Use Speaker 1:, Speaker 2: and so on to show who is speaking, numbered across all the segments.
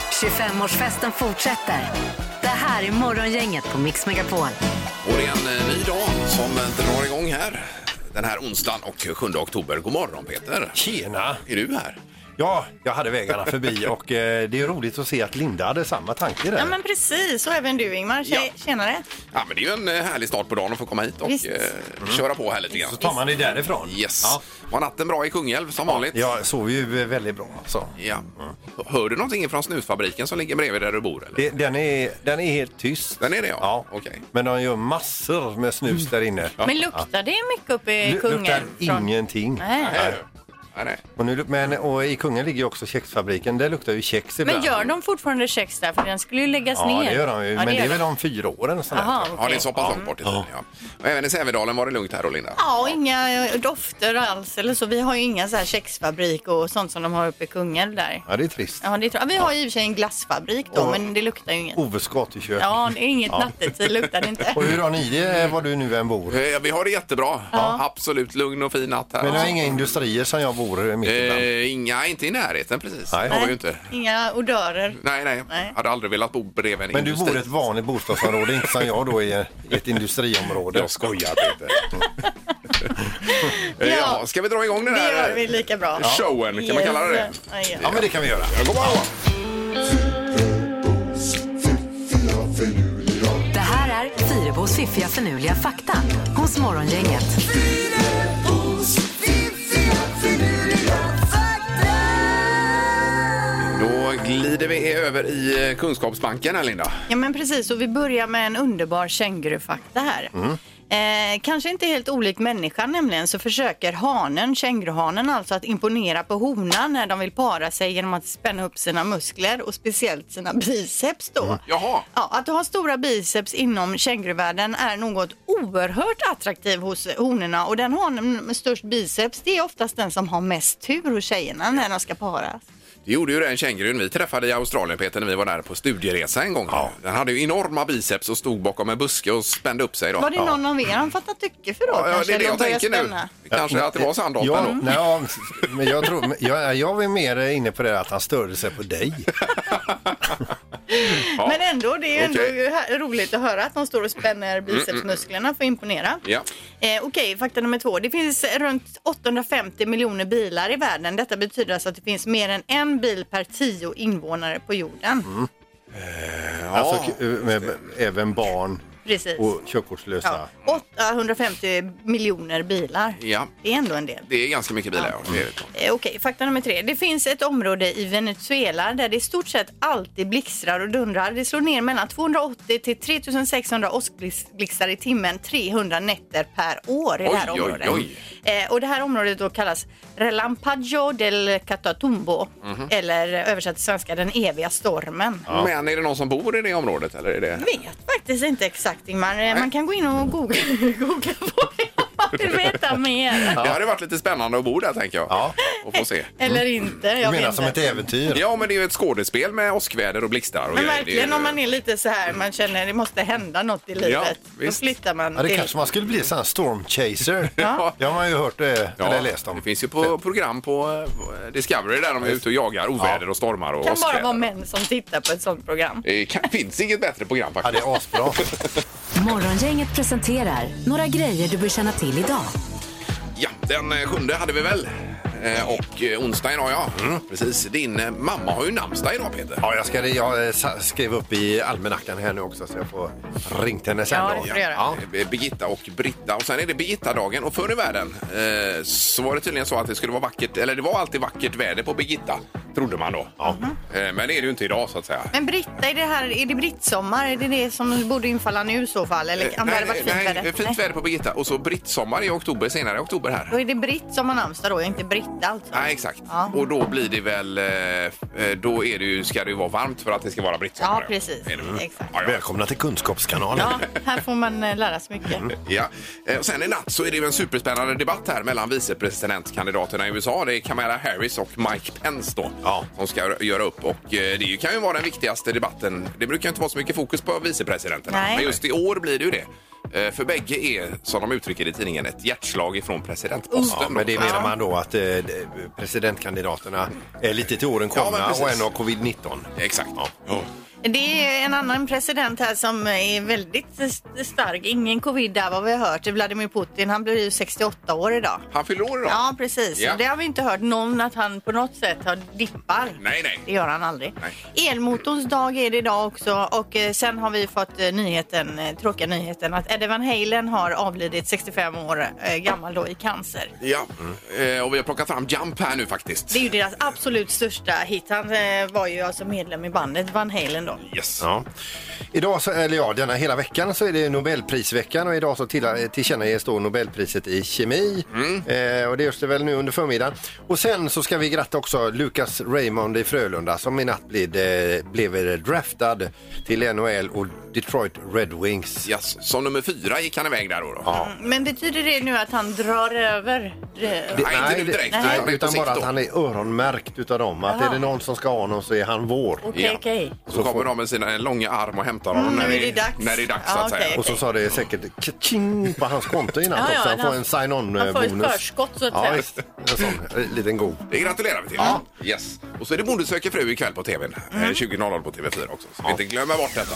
Speaker 1: 25-årsfesten fortsätter. Det här är Morgongänget på Mix Megapol.
Speaker 2: Och det är en eh, ny dag som drar igång här. Den här onsdagen och 7 oktober. God morgon Peter!
Speaker 3: Tjena!
Speaker 2: Är du här?
Speaker 3: Ja, jag hade vägarna förbi och eh, det är roligt att se att Linda hade samma tanke där.
Speaker 4: Ja men precis, och även du Ingmar. Tje-
Speaker 2: Ja.
Speaker 4: Tjenare.
Speaker 2: Ja, men det är ju en eh, härlig start på dagen att få komma hit och
Speaker 4: Visst.
Speaker 2: eh, köra på här lite grann.
Speaker 3: Mm. Så tar man det därifrån.
Speaker 2: Yes!
Speaker 3: Ja,
Speaker 2: Var natten bra i Kungälv som vanligt?
Speaker 3: jag sov ju eh, väldigt bra. Så.
Speaker 2: Ja. Hör du någonting från snusfabriken som ligger bredvid där du bor? Eller?
Speaker 3: Det, den, är, den är helt tyst.
Speaker 2: Den är det ja?
Speaker 3: Ja,
Speaker 2: Okej.
Speaker 3: men de gör massor med snus där inne.
Speaker 4: Men luktar det mycket uppe i
Speaker 3: Lu- luktar
Speaker 4: Kungälv? från-
Speaker 3: ingenting.
Speaker 4: Nej.
Speaker 2: Här är du. Här är.
Speaker 3: Och, nu, luk- men, och i Kungen ligger ju också kexfabriken. Där luktar ju kex
Speaker 4: Men
Speaker 3: ibland.
Speaker 4: gör de fortfarande kex där? För den skulle ju läggas
Speaker 3: Ja,
Speaker 4: ner.
Speaker 3: det gör de ju.
Speaker 4: Ja,
Speaker 3: men det är
Speaker 4: gör
Speaker 3: väl
Speaker 4: de.
Speaker 3: om fyra år eller sådär.
Speaker 4: Jaha,
Speaker 2: Ja, det är
Speaker 4: okej.
Speaker 2: så pass långt bort i tiden, ja. Och även i Sävedalen var det lugnt här och Linda?
Speaker 4: Ja, och inga eh, dofter alls eller så. Vi har ju inga så här kexfabrik och sånt som de har uppe i Kungälv där.
Speaker 3: Ja, det är trist.
Speaker 4: Ja, det tror jag. Vi har ju i och för sig en glassfabrik då,
Speaker 3: Och-
Speaker 4: men det luktar ju inget.
Speaker 3: Oves gatukök.
Speaker 4: Ja, det är inget nattetid luktar det inte.
Speaker 3: Och hur har ni det, eh, var du nu än bor?
Speaker 2: Eh, Vi har det jättebra. Absolut lugn och fin natt här.
Speaker 3: Men det är inga industrier som jag bor mitt ibland.
Speaker 2: Eh, inga, inte i närheten precis.
Speaker 3: Nej.
Speaker 2: Det
Speaker 4: Nej,
Speaker 2: har vi ju inte.
Speaker 4: Inga odörer.
Speaker 2: Nej, nej,
Speaker 4: Nej.
Speaker 2: Hade aldrig velat bo bredvid en
Speaker 3: Men du
Speaker 2: industri.
Speaker 3: bor i ett vanligt bostadsområde, inte som jag då i eh, ett industriområde.
Speaker 2: Jag skojar Peter. Eh, ja.
Speaker 4: Ja.
Speaker 2: ska vi dra igång den
Speaker 4: Det
Speaker 2: här eh,
Speaker 4: gör vi lika bra.
Speaker 2: showen? Kan man kalla det det?
Speaker 4: Yes. Ja, ja.
Speaker 3: Ja, men det kan vi göra.
Speaker 2: Ja, god morgon!
Speaker 1: Det här är Fyrebos fiffiga förnuliga fakta hos Morgongänget.
Speaker 2: Då glider vi över i eh, Kunskapsbanken här Linda.
Speaker 4: Ja men precis, och vi börjar med en underbar kängurufakta här.
Speaker 2: Mm.
Speaker 4: Eh, kanske inte helt olik människan nämligen så försöker hanen, känguruhanen alltså att imponera på honan när de vill para sig genom att spänna upp sina muskler och speciellt sina biceps då.
Speaker 2: Mm. Jaha,
Speaker 4: Ja, att ha stora biceps inom känguruvärlden är något oerhört attraktivt hos honorna och den hanen med störst biceps det är oftast den som har mest tur hos tjejerna när de ska paras.
Speaker 2: det gjorde ju den kängurun vi träffade i Australien Peter när vi var där på studieresa en gång. Den hade ju enorma biceps och stod bakom en buske och spände upp sig. Då.
Speaker 4: Var det någon av er som fattat tycke för då
Speaker 2: Ja, ja,
Speaker 4: kanske?
Speaker 2: det är det
Speaker 4: Eller
Speaker 2: jag
Speaker 4: börjar
Speaker 2: tänker nu.
Speaker 4: spänna?
Speaker 2: Kanske att det var
Speaker 3: Ja,
Speaker 2: sandhopparen då.
Speaker 3: nej, ja, men jag, tror, men jag, jag är mer inne på det att han störde sig på dig.
Speaker 2: Ja.
Speaker 4: Men ändå, det är ju
Speaker 2: Okej. Mm,
Speaker 4: ändå här- roligt att höra att de står och spänner bicepsmusklerna för att imponera.
Speaker 2: Ja.
Speaker 4: Eh, Okej, fakta nummer två. Det finns runt 850 miljoner bilar i världen. Detta betyder alltså att det finns mer än en bil per tio invånare på jorden.
Speaker 2: Mm,
Speaker 3: Alltså, k- med, även barn
Speaker 4: Precis.
Speaker 3: och körkortslösa.
Speaker 4: Ja, 850 miljoner bilar.
Speaker 2: Ja.
Speaker 4: Det är ändå en del.
Speaker 2: Det är ganska mycket bilar. Ja. Det är det.
Speaker 4: Eh, Okej, fakta nummer tre. Det finns ett område i Venezuela där det i stort sett alltid blixtrar och dundrar. Det slår ner mellan 280 till 3600 åskblixtar i timmen 300 nätter per år i det här
Speaker 2: Oj, oj,
Speaker 4: området.
Speaker 2: oj.
Speaker 4: Eh, och det här området då kallas Relampaggio del Catatumbo
Speaker 2: Mhm.
Speaker 4: eller översatt till svenska den eviga stormen.
Speaker 2: Men är det någon som bor i det området? Eller är det...
Speaker 4: Jag vet faktiskt inte exakt Ingmar. Eh, Man kan gå in och googla, googla på det om man vill veta mer.
Speaker 2: Det hade varit lite spännande att bo där tänker jag.
Speaker 3: Ja.
Speaker 2: Och få se.
Speaker 4: Eller inte. Jag
Speaker 3: Du
Speaker 4: vet
Speaker 3: menar
Speaker 4: inte.
Speaker 3: som ett äventyr?
Speaker 2: Ja, men det är ju ett skådespel med åskväder och blixtar.
Speaker 4: Men
Speaker 2: Och grejer.
Speaker 4: verkligen
Speaker 2: Det är-
Speaker 4: om man är lite så här, man känner det måste hända något i livet. då
Speaker 2: visst.
Speaker 4: flyttar man
Speaker 3: Ja, det
Speaker 4: till...
Speaker 3: kanske man skulle bli en sån här storm chaser.
Speaker 2: Ja.
Speaker 3: Det har man ju hört eh,
Speaker 2: Ja,
Speaker 3: eller läst om.
Speaker 2: Det finns ju på program på eh, Discovery där de är ute och jagar oväder och stormar och
Speaker 4: kan bara
Speaker 2: åskväder.
Speaker 4: vara män som tittar på ett sånt program.
Speaker 2: Det kan, finns inget bättre program
Speaker 3: Ja, det
Speaker 2: faktiskt.
Speaker 3: är asbra.
Speaker 1: Morgongänget presenterar några grejer du bör känna till idag.
Speaker 2: Ja, den eh, sjunde hade vi väl. Eh, Och eh, onsdag idag, ja. Precis. Din eh, mamma har ju namnsdag idag, Peter.
Speaker 3: Mm. Ja, jag, ska, jag eh, sa- skrev upp i almanackan här nu också så jag får ringt henne sen.
Speaker 4: Ja,
Speaker 3: då.
Speaker 4: det får du göra.
Speaker 3: Ja.
Speaker 2: Eh, Birgitta och Britta. Och sen är det Birgitta-dagen. Och förr i världen eh, så var det tydligen så att det skulle vara vackert, eller det var alltid vackert väder på Birgitta, trodde man då. Eh, men det är det ju inte idag så att säga.
Speaker 4: Men Britta, är det, här, är det brittsommar? Är det det som borde infalla nu i så fall? Eller
Speaker 2: Eh,
Speaker 4: om det hade varit fint väder?
Speaker 2: nej, fint väder på Birgitta. Och så brittsommar i oktober, senare i oktober här.
Speaker 4: Då är det Britt som har namnsdag då, inte Britta alltså.
Speaker 2: Nej, exakt.
Speaker 4: Ja.
Speaker 2: Och då blir det väl... eh, eh, Då är det ju, ska det ju vara varmt för att det ska vara brittsommar.
Speaker 4: Ja, precis.
Speaker 2: Är det-
Speaker 4: Exakt.
Speaker 2: Ja, ja.
Speaker 3: Välkomna till Kunskapskanalen.
Speaker 4: Ja, här får man eh, lära sig mycket.
Speaker 2: Ja. Eh, och Sen i natt så är det ju en superspännande debatt här mellan vicepresidentkandidaterna i USA. Det är Kamala Harris och Mike Pence då
Speaker 3: Ja.
Speaker 2: som ska göra upp. Och eh, det är ju- kan ju vara den viktigaste debatten. Det brukar ju inte vara så mycket fokus på vicepresidenterna.
Speaker 4: Nej.
Speaker 2: Men just i år blir det ju det. Eh, För bägge är, som de uttrycker det i tidningen, ett hjärtslag ifrån presidentposten.
Speaker 3: Ja, men det
Speaker 2: då.
Speaker 3: menar man då att eh, presidentkandidaterna är lite till åren
Speaker 2: Ja, men
Speaker 3: komna
Speaker 2: precis.
Speaker 3: och en har covid-19.
Speaker 2: Exakt. Ja.
Speaker 4: Det är en annan president här som är väldigt st- stark. Ingen covid där vad vi har hört. Vladimir Putin, han blir ju 68 år idag.
Speaker 2: Han fyller år idag.
Speaker 4: Ja, precis.
Speaker 2: Ja.
Speaker 4: Det har vi inte hört någon att han på något sätt har dippar.
Speaker 2: Nej, nej.
Speaker 4: Det gör han aldrig.
Speaker 2: Nej.
Speaker 4: Elmotorns dag är det idag också och eh, sen har vi fått eh, nyheten, eh, tråkiga nyheten att Eddie Van Halen har avlidit 65 år eh, gammal då i cancer.
Speaker 2: Ja, Eh, och vi har plockat fram Jump här nu faktiskt.
Speaker 4: Det är ju deras absolut största hit. Han eh, var ju alltså medlem i bandet Van Halen då.
Speaker 2: Yes.
Speaker 3: Ja. Idag, så, eller ja, denna hela veckan så är det Nobelprisveckan och idag så till, tillkännages då Nobelpriset i kemi.
Speaker 2: Mm.
Speaker 3: Eh, och det görs det väl nu under förmiddagen. Och sen så ska vi gratta också Lucas Raymond i Frölunda som i natt blev, eh, blev draftad till NHL och Detroit Red Wings.
Speaker 2: Yes. Som nummer fyra gick han iväg där då. då.
Speaker 3: Ja.
Speaker 4: Men betyder det nu att han drar över? eh,
Speaker 2: Det- Nej, inte nu
Speaker 3: det-
Speaker 2: direkt,
Speaker 3: nej,
Speaker 2: utan på
Speaker 3: utan
Speaker 2: sikt
Speaker 3: bara
Speaker 2: då.
Speaker 3: att han är öronmärkt utav dem. Att
Speaker 4: Jaha.
Speaker 3: är det någon som ska ha honom så är han vår.
Speaker 4: Okej,
Speaker 2: Ja.
Speaker 4: okej.
Speaker 2: Så kommer de med sina långa arm och hämtar honom
Speaker 4: Mm,
Speaker 2: när,
Speaker 4: nu är
Speaker 2: det,
Speaker 4: det dags.
Speaker 2: när det är dags.
Speaker 4: Ja,
Speaker 2: så att
Speaker 4: okej.
Speaker 2: säga.
Speaker 3: Och så sa det säkert kaching på hans konto innan
Speaker 4: Ja,
Speaker 3: också.
Speaker 4: ja,
Speaker 3: Han får
Speaker 4: han-
Speaker 3: en sign-on eh,
Speaker 4: han får ett
Speaker 3: bonus.
Speaker 4: förskott, så att
Speaker 3: ja,
Speaker 4: säga.
Speaker 3: visst. En sån eh, liten god.
Speaker 2: Det gratulerar vi till. Yes. Och så är det Bonde söker fru ikväll på tvn. Mm. 20.00 på TV4 också. Så vi inte glömmer bort detta.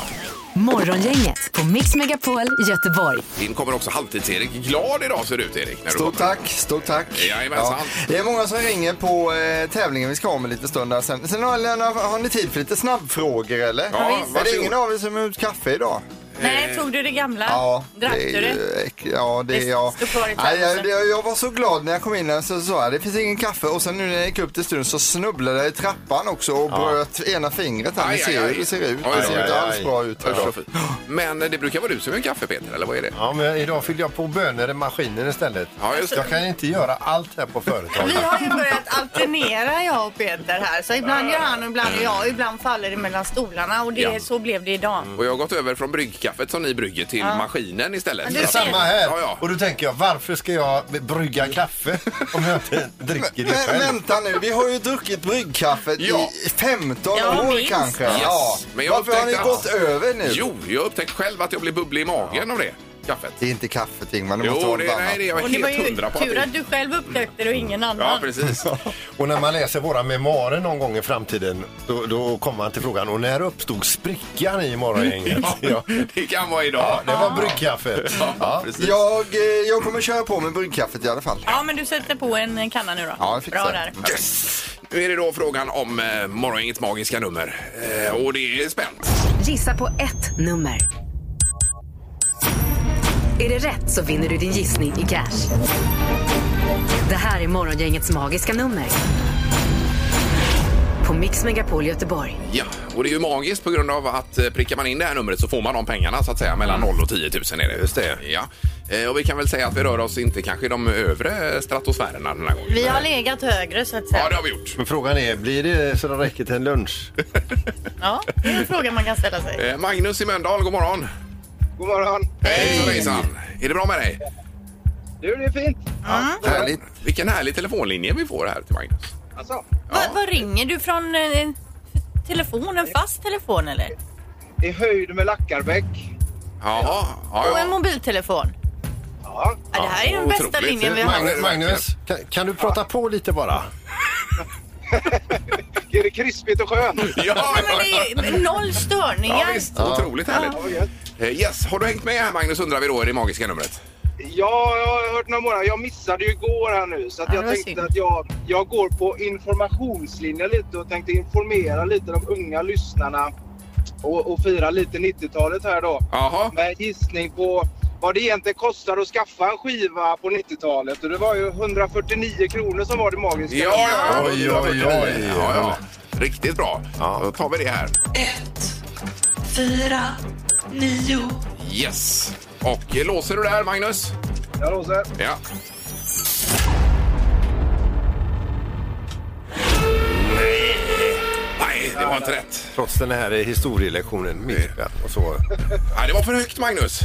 Speaker 1: Morgongänget på Mix Megapol Göteborg.
Speaker 2: In kommer också Halvtids-Erik. Glad idag ser du ut Erik. När du
Speaker 5: Stort
Speaker 2: kommer.
Speaker 5: tack, stort tack.
Speaker 2: Jajamensan.
Speaker 5: Det är många som ringer på eh, tävlingen vi ska ha med lite stund där sen. Sen har, Lena, har ni tid för lite snabbfrågor eller?
Speaker 2: Ja,
Speaker 5: är det
Speaker 2: varsågod.
Speaker 5: ingen av er som har gjort kaffe idag?
Speaker 4: Nej, tog du det gamla? Drack
Speaker 5: det
Speaker 4: du
Speaker 5: är
Speaker 4: det?
Speaker 5: ju äck- Ja, det
Speaker 4: Det
Speaker 5: är jag.
Speaker 4: står kvar i
Speaker 5: Nej,
Speaker 4: termosen.
Speaker 5: jag, jag. Jag var så glad när jag kom in där så sa jag det finns ingen kaffe och sen nu när jag gick upp till studion så snubblade jag i trappan också och bröt ena fingret här. Ni
Speaker 2: Aj,
Speaker 5: ser
Speaker 2: aj,
Speaker 5: ju
Speaker 2: aj.
Speaker 5: hur det ser ut.
Speaker 2: Oj,
Speaker 5: Det
Speaker 2: oj,
Speaker 5: ser inte
Speaker 3: oj,
Speaker 5: alls
Speaker 3: oj.
Speaker 5: bra ut. här
Speaker 2: Usch,
Speaker 5: idag.
Speaker 2: vad fint. Men eh, det brukar vara du som gör kaffe Peter, eller vad är det?
Speaker 3: Ja, men idag fyllde jag på bönor i maskinen istället.
Speaker 2: Ja, just det.
Speaker 3: Jag kan inte göra allt här på
Speaker 4: Vi
Speaker 3: företaget.
Speaker 4: har ju börjat alternera jag och Peter här. Så ibland gör han och ibland gör jag. Ibland faller det mellan stolarna och det,
Speaker 2: Ja. Mm.
Speaker 4: så blev det idag.
Speaker 2: Och jag har gått över från bryggkaffet som ni brygger till maskinen istället.
Speaker 4: Det är
Speaker 2: Så att-
Speaker 3: Samma här.
Speaker 2: Ja, ja.
Speaker 3: Och då tänker jag, varför ska jag brygga kaffe om jag inte dricker det
Speaker 5: Men
Speaker 3: själv?
Speaker 5: vänta nu, vi har ju druckit bryggkaffet
Speaker 2: Ja.
Speaker 5: i 15
Speaker 4: Ja,
Speaker 5: år
Speaker 4: minst.
Speaker 5: kanske.
Speaker 2: Yes.
Speaker 5: Ja.
Speaker 2: Men jag
Speaker 5: Varför har ni
Speaker 2: upptäckte
Speaker 5: gått
Speaker 2: att-
Speaker 5: över nu?
Speaker 2: Jo, jag upptäckte själv att jag blir bubblig i magen av det kaffet.
Speaker 5: Det är inte kaffet Ingmar, du måste
Speaker 2: Jo,
Speaker 5: ha
Speaker 2: det,
Speaker 5: något
Speaker 2: nej, det är
Speaker 5: annat.
Speaker 2: jag
Speaker 4: Och det var
Speaker 2: helt
Speaker 4: ju
Speaker 2: hundra på. att
Speaker 4: tur
Speaker 2: det- Mm.
Speaker 4: att du själv upptäckte det och ingen
Speaker 2: Ja,
Speaker 4: annan.
Speaker 2: precis.
Speaker 3: Och när man läser våra memoarer någon gång i framtiden då, då kommer man till frågan, och när uppstod sprickan i morgongänget? Ja.
Speaker 2: Det kan vara idag.
Speaker 3: Det var bryggkaffet. Ja.
Speaker 2: Precis.
Speaker 5: Jag, eh, jag kommer köra på med bryggkaffet i alla fall.
Speaker 4: Ja, men du sätter på en kanna nu då.
Speaker 5: Ja, jag fixar
Speaker 4: Bra
Speaker 5: det.
Speaker 4: där.
Speaker 2: Yes. Nu är det då frågan om eh, morgongängets magiska nummer. Eh, och det är spänt.
Speaker 1: Gissa på ett nummer. Är det rätt så vinner du din gissning i cash. Det här är Morgongängets magiska nummer. På Mix Megapol Göteborg.
Speaker 2: Ja, och det är ju magiskt på grund av att eh, prickar man in det här numret så får man de pengarna så att säga. Mellan 0 och 10 000 är det. Just det. Ja. Eh, Och vi kan väl säga att vi rör oss inte kanske i de övre stratosfärerna den här gången.
Speaker 4: Vi har legat högre så att
Speaker 2: Ja,
Speaker 4: säga.
Speaker 2: det har vi gjort.
Speaker 3: Men frågan är, blir det så det räcker till en lunch?
Speaker 4: Ja, det är en fråga man kan ställa sig.
Speaker 2: Eh, Magnus i Mölndal, god morgon.
Speaker 6: God morgon!
Speaker 2: Hejsan hejsan. Är det bra med dig?
Speaker 6: Du, det är fint.
Speaker 5: Härligt.
Speaker 2: Vilken härlig telefonlinje vi får här till Magnus.
Speaker 6: Alltså,
Speaker 4: Va- Vad ringer du från? Eh, telefon? En fast telefon eller?
Speaker 6: i höjd med Lackarbäck.
Speaker 2: Jaha. Ja,
Speaker 4: Och en
Speaker 2: ja.
Speaker 4: mobiltelefon?
Speaker 6: Ja,
Speaker 4: Ja, det här är den
Speaker 2: Ja,
Speaker 4: bästa
Speaker 2: otroligt.
Speaker 4: linjen vi har.
Speaker 3: Magnus, Magnus kan, kan du prata på lite bara?
Speaker 6: är det krispigt och skönt?
Speaker 2: Ja,
Speaker 4: Nej, men det är noll
Speaker 2: ja,
Speaker 4: störningar.
Speaker 2: visst. Otroligt härligt.
Speaker 6: Ja, gött.
Speaker 2: Eh, Yes, har du hängt med här Magnus undrar vi då i det magiska numret?
Speaker 6: Ja, jag har hört några månader. Jag missade ju igår här nu så att
Speaker 4: Ja,
Speaker 6: jag
Speaker 4: det var
Speaker 6: tänkte
Speaker 4: synd.
Speaker 6: att jag, jag går på informationslinjen lite och tänkte informera lite de unga lyssnarna och, och fira lite 90-talet här då.
Speaker 2: Jaha.
Speaker 6: Med en gissning på vad det egentligen kostar att skaffa en skiva på 90-talet. Och det var ju 149 kronor som var det magiska.
Speaker 2: Ja, ja, ja.
Speaker 3: Oj, oj, oj.
Speaker 2: Ja, ja. Riktigt bra. Då tar vi det här.
Speaker 7: fyra, nio,
Speaker 2: Yes. Och eh, låser du det här, Magnus?
Speaker 6: Jag låser.
Speaker 2: Ja. Nej, det var inte rätt.
Speaker 3: Trots den här eh, historielektionen. missat Och så.
Speaker 2: Nej, det var för högt, Magnus.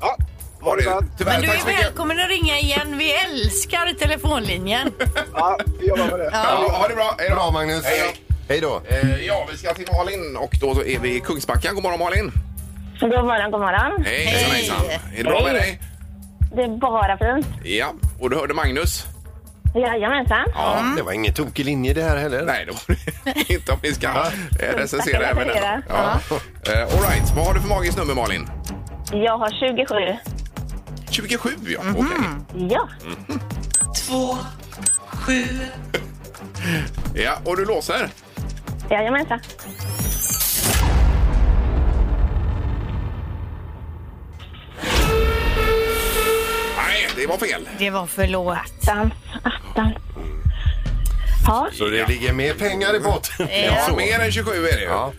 Speaker 6: Ja,
Speaker 2: Var det? Tyvärr.
Speaker 4: Men du
Speaker 2: tack
Speaker 4: är
Speaker 2: så mycket.
Speaker 4: välkommen att ringa igen. Vi älskar telefonlinjen.
Speaker 6: ja, vi jobbar med det.
Speaker 2: Ja, ha det bra. Hej
Speaker 3: Bra,
Speaker 2: då.
Speaker 3: Magnus.
Speaker 2: Hej då.
Speaker 3: Hej då.
Speaker 2: Eh, Ja, vi ska till Malin och då är vi i Kungsbacka. God morgon, Malin.
Speaker 7: God morgon, god morgon.
Speaker 2: Hej, hejsan,
Speaker 4: Hej.
Speaker 2: hejsan. Är det bra med dig?
Speaker 7: Det är bara fint.
Speaker 2: Ja, och du hörde Magnus?
Speaker 7: Jajamensan.
Speaker 2: Ja.
Speaker 3: Det var ingen tokig linje det här heller.
Speaker 2: Nej, det var det inte om vi ska eh, recensera även den.
Speaker 7: recensera.
Speaker 2: Ja. Eh, All right, vad har du för magiskt nummer Malin?
Speaker 7: Jag har 27.
Speaker 2: 27 ja, okej.
Speaker 7: Ja,
Speaker 2: Ja, och du låser?
Speaker 7: jajamensan.
Speaker 2: Nej, det var fel.
Speaker 4: Det var förlåt.
Speaker 7: Attans, attans. Ja,
Speaker 3: Så det
Speaker 2: Ja.
Speaker 3: ligger mer pengar i botten.
Speaker 4: Eh,
Speaker 2: Ja, mer än 27 är det ju.
Speaker 3: Ja.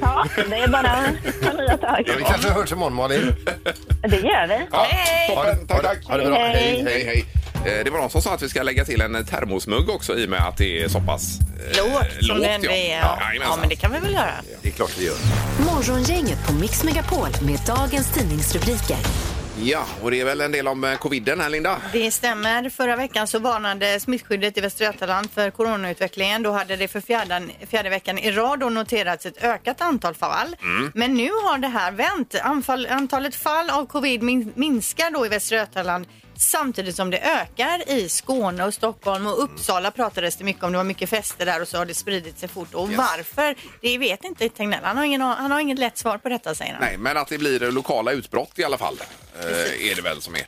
Speaker 7: ja, det är bara att ta nya tag.
Speaker 3: Vi kanske hörs imorgon Malin.
Speaker 7: Det gör vi.
Speaker 2: Ja,
Speaker 4: Hej!
Speaker 2: Toppen, tack, tack.
Speaker 3: Ha det bra.
Speaker 7: Hej.
Speaker 3: Hej, hej.
Speaker 2: Hej, hej. Eh, Det var någon som sa att vi ska lägga till en termosmugg också i och med att det är så pass eh,
Speaker 4: Lågt som det ändå
Speaker 2: ja.
Speaker 4: är.
Speaker 2: Ja,
Speaker 4: Ja,
Speaker 2: jajamensan.
Speaker 4: men det kan vi väl göra.
Speaker 3: Det är klart vi gör.
Speaker 1: Morgongänget på Mix Megapol med dagens tidningsrubriker.
Speaker 2: ja, och det är väl en del om eh, coviden här Linda?
Speaker 4: Det stämmer. Förra veckan så varnade smittskyddet i Västra Götaland för coronautvecklingen. Då hade det för fjärde, fjärde veckan i rad då noterats ett ökat antal fall.
Speaker 2: Mm.
Speaker 4: Men nu har det här vänt. Anfall, antalet fall av covid min, minskar då i Västra Götaland samtidigt som det ökar i Skåne och Stockholm och Uppsala pratades det mycket om. Det var mycket fester där och så har det spridit sig fort. Och varför? Det vet inte Tegnell. Han har, ingen, han har inget lätt svar på detta säger han.
Speaker 2: Nej, men att det blir lokala utbrott i alla fall. Eh, är det väl som är.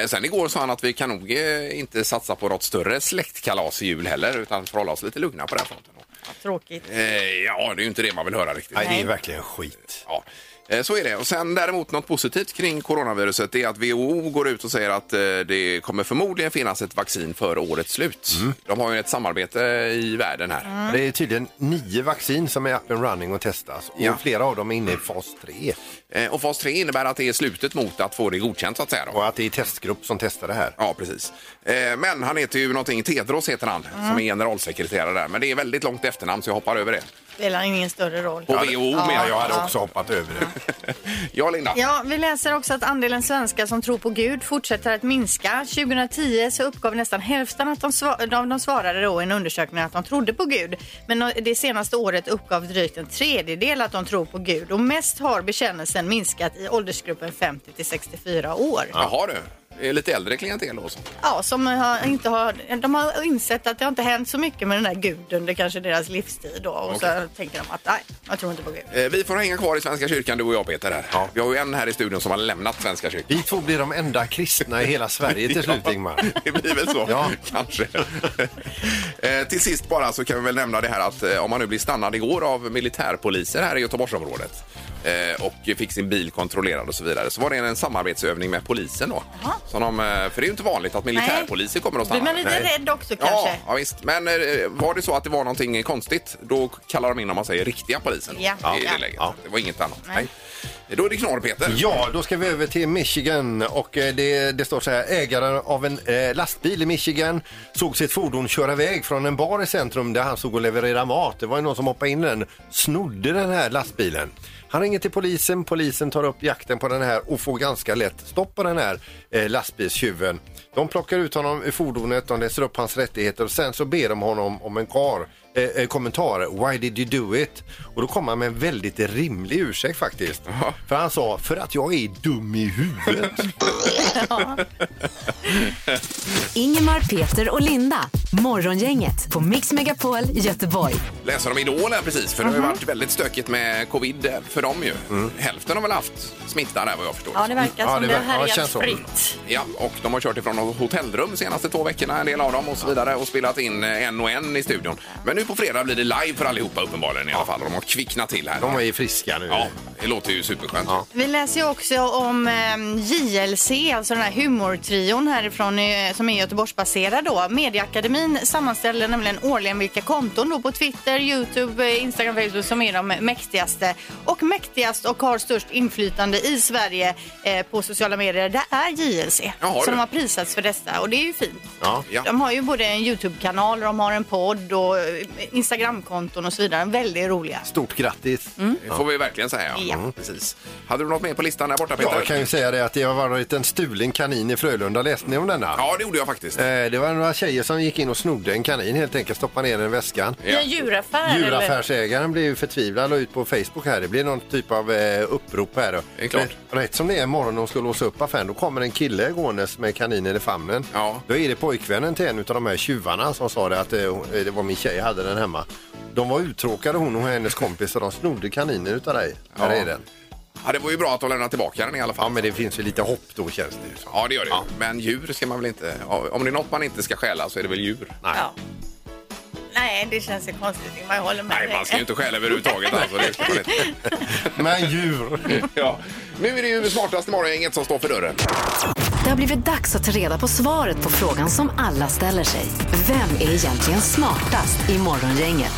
Speaker 2: Eh, sen igår sa han att vi kan nog eh, inte satsa på något större släktkalas i jul heller utan får hålla oss lite lugna på den fronten.
Speaker 4: Tråkigt.
Speaker 2: Eh, ja, det är ju inte det man vill höra riktigt.
Speaker 3: Nej, det är verkligen skit.
Speaker 2: Ja. eh, Så är det. Och sen däremot något positivt kring coronaviruset det är att WHO går ut och säger att eh, det kommer förmodligen finnas ett vaccin före årets slut. De har ju ett samarbete i världen här.
Speaker 3: Mm. Det är tydligen nio vaccin som är up and running och testas och
Speaker 2: Ja.
Speaker 3: flera av dem är inne i fas 3
Speaker 2: Eh, Och fas 3 innebär att det är slutet mot att få det godkänt så att säga. Då.
Speaker 3: och att det är testgrupp som testar det här.
Speaker 2: Ja, precis. Eh, Men han heter ju någonting, Tedros heter han, som är generalsekreterare där. Men det är väldigt långt efternamn så jag hoppar över det.
Speaker 4: Spelar ingen större roll.
Speaker 2: På WHO menar jag. Alltså,
Speaker 3: hade också hoppat över det.
Speaker 2: Ja, Linda.
Speaker 4: Ja, vi läser också att andelen svenskar som tror på Gud fortsätter att minska. 2010 så uppgav nästan hälften att de sva- av de svarade då i en undersökning att de trodde på Gud. Men det senaste året uppgav drygt en tredjedel att de tror på Gud. Och mest har bekännelsen minskat i åldersgruppen 50 till 64 år.
Speaker 2: Jaha du, det är lite äldre klientel då. så.
Speaker 4: Ja, som har inte har, de har insett att det har inte hänt så mycket med den där guden. Det kanske är deras livstid då. Och
Speaker 2: Okej.
Speaker 4: så tänker de att nej, jag tror inte på Gud.
Speaker 2: Eh, Vi får hänga kvar i Svenska kyrkan, du och jag Peter. Här. Vi har ju en här i studion som har lämnat Svenska kyrkan.
Speaker 3: Vi två blir de enda kristna i hela Sverige till slut Ingmar.
Speaker 2: Det blir väl så,
Speaker 3: Ja.
Speaker 2: kanske. Eh, Till sist bara så kan vi väl nämna det här att eh, om man nu blir stannad igår av militärpoliser här i Göteborgsområdet eh, och fick sin bil kontrollerad och så vidare så var det en samarbetsövning med polisen då. Som de, eh, för det är ju inte vanligt att militärpoliser kommer och
Speaker 4: Blir
Speaker 2: stannar.
Speaker 4: man lite rädd också
Speaker 2: Ja,
Speaker 4: kanske?
Speaker 2: ja, visst. Men eh, var det så att det var någonting konstigt, då kallar de in, om man säger, riktiga polisen.
Speaker 4: Ja.
Speaker 2: I
Speaker 4: Ja.
Speaker 2: det läget.
Speaker 3: Ja.
Speaker 2: Det var inget annat. Nej. Då är det knorr, Peter.
Speaker 3: Ja, då ska vi över till Michigan och eh, det, det står så här. Ägaren av en eh, lastbil i Michigan såg sitt fordon köra iväg från en bar i centrum där han stod och levererade mat. Det var ju någon som hoppade in i den, snodde den här lastbilen. Han ringer till polisen, polisen tar upp jakten på den här och får ganska lätt stopp på den här eh, lastbilstjuven. De plockar ut honom ur fordonet, de läser upp hans rättigheter och sen så ber de honom om en kar, eh, eh, kommentar. Why did you do it? Och då kommer han med en väldigt rimlig ursäkt faktiskt. För han sa, för att jag är dum i huvudet.
Speaker 1: Ingemar, Peter och Linda. Morgongänget på Mix Megapol Göteborg.
Speaker 2: läser om Idol här precis, för det har
Speaker 4: Mhm.
Speaker 2: ju varit väldigt stökigt med covid för dem ju.
Speaker 3: Mm.
Speaker 2: Hälften har väl haft smitta där vad jag förstår.
Speaker 4: Ja, det verkar
Speaker 3: Ja,
Speaker 4: som
Speaker 3: det
Speaker 4: det, det
Speaker 3: verkar- ja,
Speaker 4: här är
Speaker 3: känns så.
Speaker 4: fritt.
Speaker 2: Ja, och de har kört ifrån hotellrum de senaste två veckorna, en del av dem och så vidare och spelat in eh, en och en i studion. Men nu på fredag blir det live för allihopa uppenbarligen i alla fall. De har kvicknat till här.
Speaker 3: De är ju friska nu.
Speaker 2: Ja, det låter ju superskönt.
Speaker 3: Ja.
Speaker 4: Vi läser ju också om eh, JLC, alltså den här humortrion härifrån eh, som är Göteborgsbaserad då. Mediaakademin sammanställer nämligen årligen vilka konton då på Twitter, Youtube, eh, Instagram, Facebook som är de mäktigaste och mäktigast och har störst inflytande i Sverige eh, på sociala medier. Det är JLC.
Speaker 2: Jaha,
Speaker 4: så
Speaker 2: du.
Speaker 4: de har prisats för detta och det är ju fint.
Speaker 3: Ja.
Speaker 2: Ja.
Speaker 4: De har ju både en Youtube-kanal och de har en podd och eh, Instagramkonton och så vidare. Väldigt roliga.
Speaker 3: Stort grattis!
Speaker 2: Det får vi verkligen säga.
Speaker 4: Ja.
Speaker 2: Mm. Precis. Hade du något mer på listan där borta Peter?
Speaker 3: Jag kan ju säga det att det har varit en stulen kanin i Frölunda. Läste ni om denna?
Speaker 2: Ja, det gjorde jag faktiskt.
Speaker 3: Eh, Det var några tjejer som gick in och snodde en kanin helt enkelt, stoppade ner den i väskan.
Speaker 2: Ja.
Speaker 4: I en djuraffär? eller?
Speaker 3: Djuraffärsägaren blev ju förtvivlad och la ut på Facebook här. Det blir någon typ av eh, upprop här. då.
Speaker 2: Det är klart.
Speaker 3: Men Rätt som det är imorgon när de ska låsa upp affären då kommer en kille gåendes med kaninen i famnen.
Speaker 2: Ja.
Speaker 3: Då är det pojkvännen till en av de här tjuvarna som sa det att eh, hon- eh, det var min tjej hade den hemma. De var uttråkade hon och hennes kompis och de snodde kaninen utav dig. Här är den.
Speaker 2: Ja, det var ju bra att de lämnade tillbaka den i alla
Speaker 3: Ja
Speaker 2: fall.
Speaker 3: men det finns ju lite hopp då känns det ju som.
Speaker 2: Ja, det gör det ju. Men djur ska man väl inte... ja, Om det är något man inte ska stjäla så är det väl djur.
Speaker 3: Nej.
Speaker 4: Ja. Nej, det känns ju konstigt. Jag håller med
Speaker 2: Nej,
Speaker 4: dig.
Speaker 2: man ska ju inte stjäla överhuvudtaget alltså. Det ska man inte.
Speaker 3: Men djur!
Speaker 2: Ja. Nu är det ju smartaste morgongänget som står för dörren.
Speaker 1: Det har blivit dags att ta reda på svaret på frågan som alla ställer sig. Vem är egentligen smartast i morgongänget?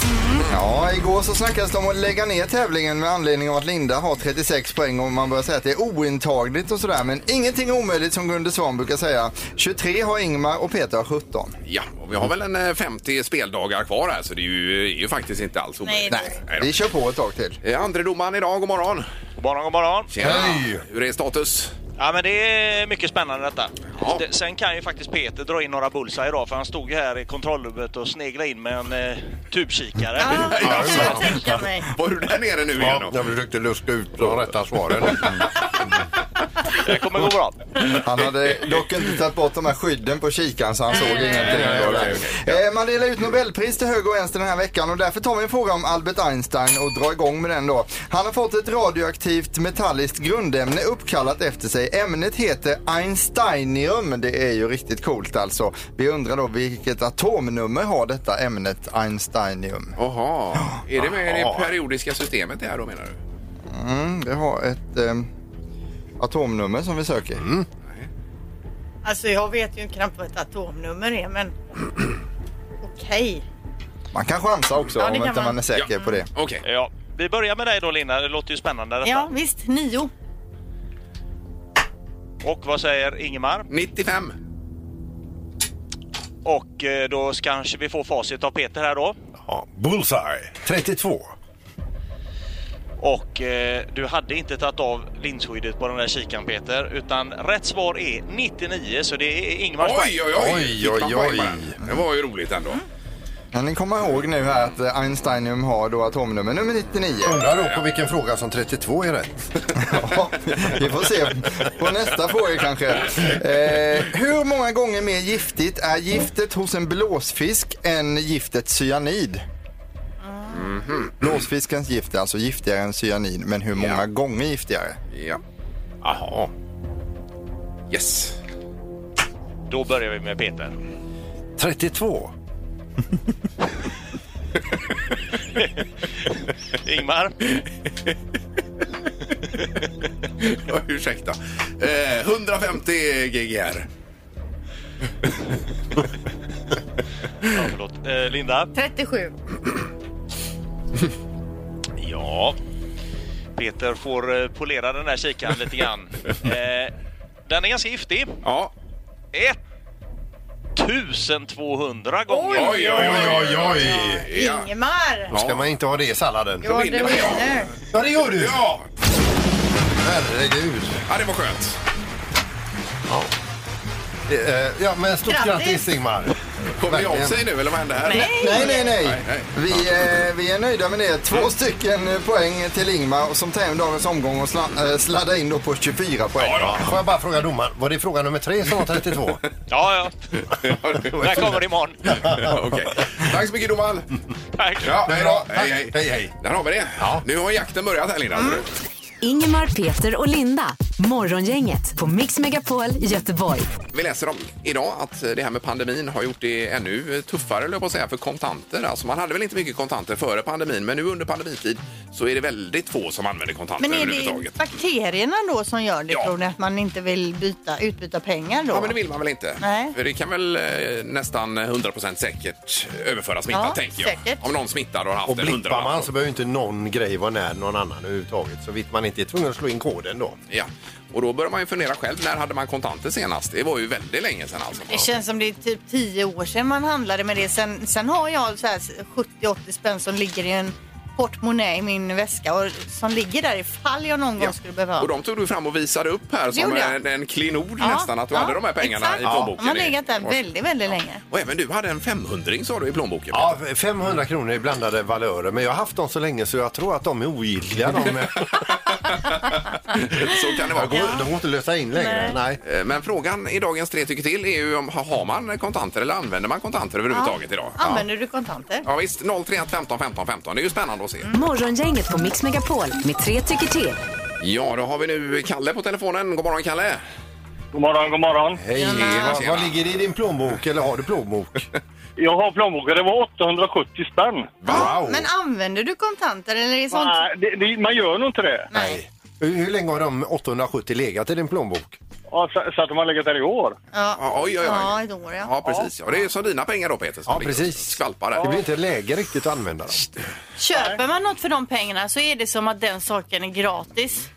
Speaker 5: Ja, igår så snackades det om att lägga ner tävlingen med anledning av att Linda har 36 poäng och man börjar säga att det är ointagligt och sådär. Men ingenting är omöjligt som Gunde Svan brukar säga. 23 har Ingmar och Peter har 17.
Speaker 2: Ja, och vi har väl en eh, 50 speldagar kvar här så det är ju, är ju faktiskt inte alls omöjligt.
Speaker 4: Nej.
Speaker 5: Vi kör på ett tag till.
Speaker 2: då. Eh, Andre domaren idag, god morgon.
Speaker 8: God morgon, god morgon.
Speaker 2: Tjena.
Speaker 3: Hej.
Speaker 2: Hur är status?
Speaker 8: Ja, men det är mycket spännande detta.
Speaker 2: Ja.
Speaker 8: Det- Sen kan ju faktiskt Peter dra in några bullseye idag, för han stod ju här i kontrollrummet och sneglade in med en eh, tubkikare.
Speaker 4: Ja, det
Speaker 2: Ja,
Speaker 4: kan jag tänka mig.
Speaker 2: Var du där nere nu igen?
Speaker 3: Ja,
Speaker 2: då?
Speaker 3: jag försökte luska ut de rätta svaren.
Speaker 8: Det kommer gå bra.
Speaker 5: Han hade dock inte tagit bort de här skydden på kikaren så han såg ingenting.
Speaker 2: nej, okej,
Speaker 5: Eh, Man delar ut Nobelpris till höger och vänster den här veckan och därför tar vi en fråga om Albert Einstein och drar igång med den då. Han har fått ett radioaktivt metalliskt grundämne uppkallat efter sig. Ämnet heter Einsteinium. Det är ju riktigt coolt alltså. Vi undrar då vilket atomnummer har detta ämnet Einsteinium?
Speaker 2: Jaha, är det med i det
Speaker 3: Jaha.
Speaker 2: periodiska systemet det här då menar du?
Speaker 5: Mm, det har ett eh, atomnummer som vi söker.
Speaker 2: Mm.
Speaker 4: Alltså, jag vet ju knappt vad ett atomnummer är, men okej.
Speaker 5: Man kan chansa också
Speaker 4: Ja, det
Speaker 5: om
Speaker 4: kan
Speaker 5: inte man
Speaker 4: man.
Speaker 5: är säker
Speaker 2: Ja.
Speaker 5: på det.
Speaker 2: Okej.
Speaker 3: Eh.
Speaker 8: Ja, vi börjar med dig då Linda, det låter ju spännande detta.
Speaker 4: Ja, visst. Nio.
Speaker 8: Och vad säger Ingemar?
Speaker 2: 95.
Speaker 8: Och eh, då ska- kanske vi får facit av Peter här då.
Speaker 3: Ja, bullseye! 32.
Speaker 8: Och eh, du hade inte tagit av linsskyddet på den där kikaren Peter, utan rätt svar är 99, så det är Ingemars poäng.
Speaker 2: Oj, oj, oj!
Speaker 3: Oj,
Speaker 2: Fick man
Speaker 3: oj,
Speaker 2: poäng
Speaker 3: oj.
Speaker 2: bara. Det var ju roligt ändå.
Speaker 5: Kan ni komma ihåg nu här att eh, Einsteinium har då atomnummer nummer 99?
Speaker 3: Undrar då på vilken fråga som 32 är rätt.
Speaker 5: Ja, vi får se på nästa fråga kanske. Eh, hur många gånger mer giftigt är giftet hos en blåsfisk än giftet cyanid? Blåsfiskens gift är alltså giftigare än cyanid, men hur många
Speaker 2: Mhm. Ja.
Speaker 5: gånger giftigare?
Speaker 2: Ja. Jaha. Yes.
Speaker 8: Då börjar vi med Peter.
Speaker 3: 32.
Speaker 8: Ingmar?
Speaker 2: Ja, Ursäkta. Eh, 150 GGR.
Speaker 8: Ja, förlåt. Eh, Linda?
Speaker 4: 37.
Speaker 8: Ja. Peter får eh, polera den där kikaren lite grann. Eh, den är ganska giftig.
Speaker 2: Ja.
Speaker 8: 1200 gånger.
Speaker 2: Oj, oj, oj, oj.
Speaker 3: oj!
Speaker 2: Ja.
Speaker 4: Ingemar!
Speaker 3: Ska man inte ha det i salladen?
Speaker 4: Ja, du
Speaker 2: vinner man, ja.
Speaker 4: vinner.
Speaker 3: Ja, det gör du!
Speaker 2: Ja.
Speaker 3: Herregud.
Speaker 2: ja, det var skönt.
Speaker 3: Det, eh, Ja, men stort
Speaker 4: Grattis.
Speaker 3: grattis Ingmar.
Speaker 2: Kom det av
Speaker 3: Verkligen.
Speaker 2: sig nu eller vad hände här?
Speaker 4: Nej.
Speaker 5: Nej, nej, nej.
Speaker 2: Nej, nej.
Speaker 5: Vi, eh, vi är nöjda med det. Två stycken eh, poäng till Ingmar som tar hem dagens omgång och sla- eh, sladdar in då på 24 poäng.
Speaker 2: Ja,
Speaker 3: Får jag bara fråga domaren, var det fråga nummer tre som var 32?
Speaker 8: Ja,
Speaker 2: då.
Speaker 8: ja. Den kommer imorgon.
Speaker 2: Ja, Okej. Tack så mycket domaren.
Speaker 8: Tack.
Speaker 2: Ja, hej då. Hej, hej.
Speaker 3: Tack. Hej, hej.
Speaker 2: Där har vi det. Nu har jakten börjat här Linda. Mm.
Speaker 1: Ingemar, Peter och Linda. Morgongänget på Mix Megapol Göteborg.
Speaker 2: Vi läser om idag att det här med pandemin har gjort det ännu tuffare höll jag på att säga, för kontanter. Alltså man hade väl inte mycket kontanter före pandemin men nu under pandemitid så är det väldigt få som använder kontanter
Speaker 4: Men är det
Speaker 2: överhuvudtaget.
Speaker 4: bakterierna då som gör det,
Speaker 2: Ja.
Speaker 4: tror ni? Att man inte vill byta, utbyta pengar då?
Speaker 2: Ja, men det vill man väl inte?
Speaker 4: Nej.
Speaker 2: För det kan väl eh, nästan 100% säkert överföra smittan,
Speaker 4: Ja,
Speaker 2: tänker jag.
Speaker 4: säkert.
Speaker 2: Om någon smittar och har haft
Speaker 3: Och
Speaker 2: en
Speaker 3: blippar man
Speaker 2: hundralapp.
Speaker 3: så behöver ju inte någon grej vara nära någon annan överhuvudtaget. Så vitt man inte är tvungen att slå in koden då.
Speaker 2: Ja. Och då börjar man ju fundera själv, när hade man kontanter senast? Det var ju väldigt länge sedan alltså.
Speaker 4: Det känns som det är typ tio år sedan man handlade med det. Sen, sen har jag så här 70-80 spänn som ligger i en portmonnä i min väska och som ligger där ifall jag någon gång
Speaker 2: Ja.
Speaker 4: skulle behöva.
Speaker 2: Och de tog du fram och visade upp här som
Speaker 4: gjorde jag.
Speaker 2: en, en klinod
Speaker 4: Ja,
Speaker 2: nästan, att du
Speaker 4: ja,
Speaker 2: hade de här pengarna
Speaker 4: exakt.
Speaker 2: i
Speaker 4: De
Speaker 2: plånboken.
Speaker 4: har legat där
Speaker 2: Och-
Speaker 4: väldigt, väldigt länge.
Speaker 2: Och även du hade en 500 sa du i plånboken.
Speaker 3: Ja, 500 kronor i blandade valörer, men jag har haft dem så länge så jag tror att de är ogiltiga. De,
Speaker 2: Så kan det vara.
Speaker 3: de, går, de går inte att lösa in längre. Nej.
Speaker 2: Eh, Men frågan i dagens tre tycker till är ju om har man kontanter eller använder man kontanter överhuvudtaget idag?
Speaker 4: Använder du kontanter?
Speaker 2: Ja visst, 031 15 15 15. Det är ju spännande att se.
Speaker 1: Mm. Morgongänget på Mix Megapol med tre tycker till.
Speaker 2: Ja, då har vi nu Kalle på telefonen. God morgon Kalle!
Speaker 9: God morgon, god morgon.
Speaker 3: Hej,
Speaker 2: Tjena.
Speaker 3: vad, vad ligger det i din plånbok eller har du plånbok?
Speaker 9: Jag har plånboken. Det var 870 spänn.
Speaker 3: Wow!
Speaker 4: Men använder du kontanter eller är det sånt?
Speaker 9: Nej, det, det, man gör nog inte det.
Speaker 3: Nej. Hur, hur länge har de 870 legat i din plånbok?
Speaker 9: Ja, så, så att de har legat där i år.
Speaker 4: Ja.
Speaker 2: Ja, oj, oj, oj.
Speaker 4: Ja, ett år, ja.
Speaker 2: Ja, precis. Ja, det är ju som dina pengar då Peter. som
Speaker 3: Ja,
Speaker 2: ligger och
Speaker 3: precis.
Speaker 2: Skvalpar
Speaker 3: Det blir
Speaker 2: där.
Speaker 3: inte läge riktigt att använda dem.
Speaker 4: Köper man något för de pengarna så är det som att den saken är gratis.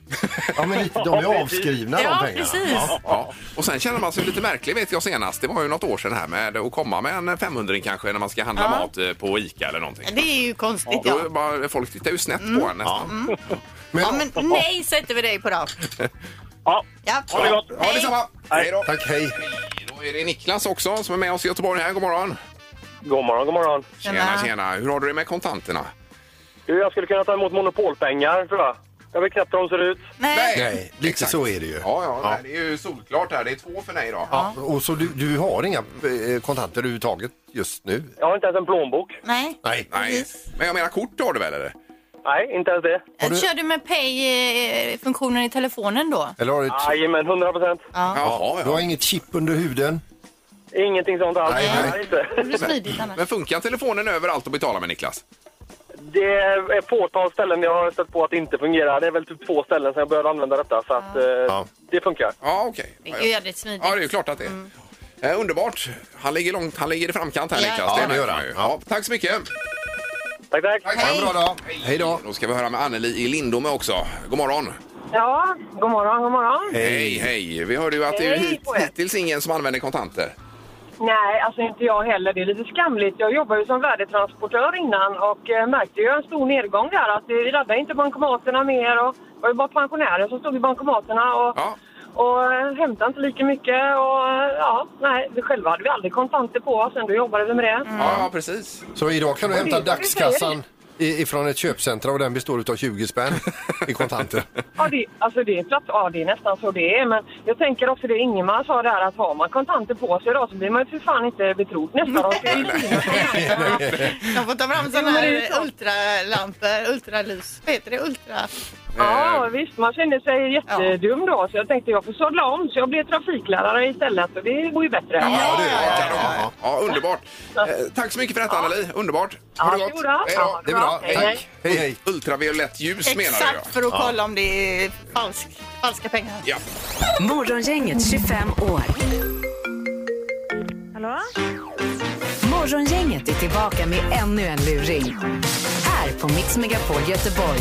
Speaker 3: Ja, men lite, de är avskrivna de
Speaker 4: Ja,
Speaker 3: pengarna.
Speaker 4: precis.
Speaker 2: Ja. Och sen känner man sig lite märklig vet jag senast. Det var ju något år sedan här med att komma med en 500 kanske när man ska handla
Speaker 4: Ja.
Speaker 2: mat eh, på ICA eller någonting.
Speaker 4: Det är ju konstigt.
Speaker 2: Då
Speaker 4: Ja.
Speaker 2: är det bara, folk tittar ju snett på en nästan.
Speaker 4: Ja, men nej sätter vi dig på då.
Speaker 9: Ja,
Speaker 4: Ja.
Speaker 9: ha det gott.
Speaker 2: Ja, detsamma! Hej då!
Speaker 3: Tack, hej.
Speaker 2: Då är det Niklas också som är med oss i Göteborg här. God morgon!
Speaker 9: God morgon, god morgon.
Speaker 2: Tjena,
Speaker 4: Tjena.
Speaker 2: tjena! Hur har du det med kontanterna?
Speaker 9: Du, jag skulle kunna ta emot monopolpengar, tror jag. Jag vet knappt hur de ser ut.
Speaker 4: Nej.
Speaker 3: Nej, lite
Speaker 2: Exakt.
Speaker 3: så är det ju.
Speaker 2: Ja, ja, Nej, det är ju solklart här. Det är två för nej idag.
Speaker 3: Ja. Och så du, du har inga eh, kontanter överhuvudtaget just nu?
Speaker 9: Jag har inte ens en plånbok.
Speaker 4: Nej.
Speaker 3: Nej.
Speaker 2: Nej. Men jag menar kort har du väl eller?
Speaker 9: Nej, inte ens det.
Speaker 3: du-
Speaker 4: Kör du med Pay-funktionen i telefonen då?
Speaker 3: Eller har du, ett,
Speaker 9: Jajamän, 100 procent.
Speaker 2: Jaha,
Speaker 3: du har inget chip under huden?
Speaker 9: Ingenting sånt alls.
Speaker 3: Nej, nej.
Speaker 9: inte.
Speaker 4: Det blir smidigt annars.
Speaker 2: Men funkar telefonen överallt att betala med Niklas?
Speaker 9: Det är ett fåtal ställen jag har stött på att det inte fungerar. Det är väl typ två ställen sedan jag började använda detta, så att eh, det funkar.
Speaker 2: Ja, okej.
Speaker 4: Det
Speaker 2: Ja,
Speaker 4: är ju jävligt smidigt.
Speaker 2: Ja, det är ju klart att det är. Eh, underbart. Han ligger, långt, han ligger i framkant här,
Speaker 4: Ja.
Speaker 2: Niklas.
Speaker 4: Ja,
Speaker 2: det
Speaker 3: det
Speaker 2: märker
Speaker 3: gör
Speaker 2: man
Speaker 3: han.
Speaker 2: ju. Ja, tack så mycket.
Speaker 9: Tack, tack.
Speaker 3: Ha en bra dag. Hej då.
Speaker 2: Då ska vi höra med Anneli i Lindome också. God morgon.
Speaker 7: Ja, god morgon, god morgon.
Speaker 2: Hej, hej. Vi hörde ju att det är ju
Speaker 7: Hej
Speaker 2: hit,
Speaker 7: på er.
Speaker 2: hittills ingen som använder kontanter.
Speaker 7: Nej, alltså inte jag heller. Det är lite skamligt. Jag jobbade ju som värdetransportör innan och eh, märkte ju en stor nedgång där. Att vi laddade inte bankomaterna mer och det var ju bara pensionärer som stod i bankomaterna och,
Speaker 2: Ja.
Speaker 7: och eh, hämtade inte lika mycket. Och eh, ja, nej, vi själva hade vi aldrig kontanter på oss. Ändå jobbade vi med det.
Speaker 2: Ja,
Speaker 4: Mm.
Speaker 2: ja, precis.
Speaker 3: Så idag kan du
Speaker 7: Ja,
Speaker 3: hämta
Speaker 7: det är vad du säger.
Speaker 3: dagskassan i- ifrån ett köpcentra och den består av 20 spänn i kontanter.
Speaker 7: Ja, det, alltså det, är platt, ja, det är nästan så det är. Men jag tänker också det Ingemar sa där att har man kontanter på sig idag så blir man ju för fan inte betrodd nästan. De ska ju synas på händerna.
Speaker 4: De får ta fram såna
Speaker 7: men det är ju
Speaker 4: här
Speaker 7: klart.
Speaker 4: ultralampor, ultralys. Vad heter det? Ultra...
Speaker 2: Eh.
Speaker 7: Ja, visst. Man känner sig jättedum då. Så jag tänkte jag får sadla om. Så jag blev trafiklärare istälvet. Och det går ju bättre.
Speaker 2: Ja, det
Speaker 4: ja,
Speaker 2: är ja, ja, underbart. Eh, tack så mycket för detta, Anneli. Underbart.
Speaker 7: Ja,
Speaker 2: Ha det
Speaker 7: det
Speaker 2: gott.
Speaker 7: gjorde jag.
Speaker 2: Hej
Speaker 7: Ja,
Speaker 2: då.
Speaker 7: ha
Speaker 3: Det är bra.
Speaker 7: Hej,
Speaker 3: Tack. Hej, hej.
Speaker 2: Ultraviolett ljus menar du?
Speaker 4: Exakt, för att kolla om det är falsk, falska pengar.
Speaker 2: Ja.
Speaker 1: Morgongänget 25 år.
Speaker 7: Hallå?
Speaker 1: Morgongänget är tillbaka med ännu en luring. Här på Mix Megapol Göteborg.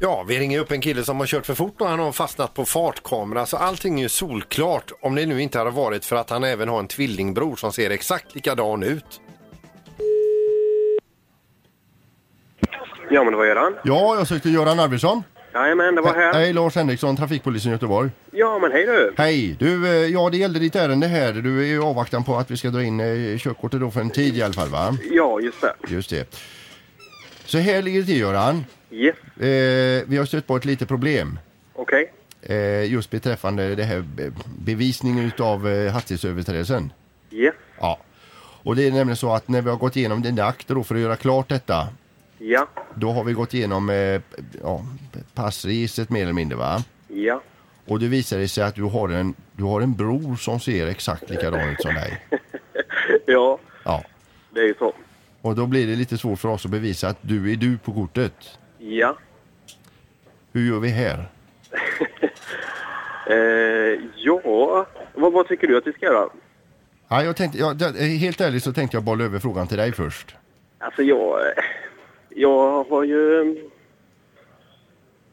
Speaker 3: Ja, vi ringer upp en kille som har kört för fort och han har fastnat på fartkamera så allting är ju solklart om det nu inte hade varit för att han även har en tvillingbror som ser exakt likadan ut.
Speaker 10: Ja, men det var Göran.
Speaker 3: Ja, jag sökte Göran Arvidsson.
Speaker 10: Jajamän, det var här.
Speaker 3: Hej, Lars Henriksson, trafikpolisen i Göteborg.
Speaker 10: Ja, men hej du.
Speaker 3: Hej, du, eh, ja det gällde ditt ärende här. Du är i avvaktan på att vi ska dra in eh, körkortet då för en tid i alla fall va?
Speaker 10: Ja, just det.
Speaker 3: Just det. Så här ligger det till Göran.
Speaker 10: Yes,
Speaker 3: Eh, vi har stött på ett litet problem.
Speaker 10: okej.
Speaker 3: Eh, just beträffande det här be- bevisningen utav eh, hastighetsöverträdelsen.
Speaker 10: Yes,
Speaker 3: Ja. Och det är nämligen så att när vi har gått igenom dina akter då för att göra klart detta.
Speaker 10: ja,
Speaker 3: Då har vi gått igenom eh, ja, passregistret mer eller mindre va?
Speaker 10: ja.
Speaker 3: Och det visar det sig att du har en, du har en bror som ser exakt likadan ut som dig.
Speaker 10: Ja,
Speaker 3: Ja.
Speaker 10: det är ju så.
Speaker 3: Och då blir det lite svårt för oss att bevisa att du är du på kortet.
Speaker 10: Ja.
Speaker 3: Hur gör vi här?
Speaker 10: Eh, ja, vad, vad tycker du att vi ska göra?
Speaker 3: Ja, jag tänkte, ja, det- eh, helt ärligt så tänkte jag bolla över frågan till dig först.
Speaker 10: Alltså jag... eh, Jag har ju...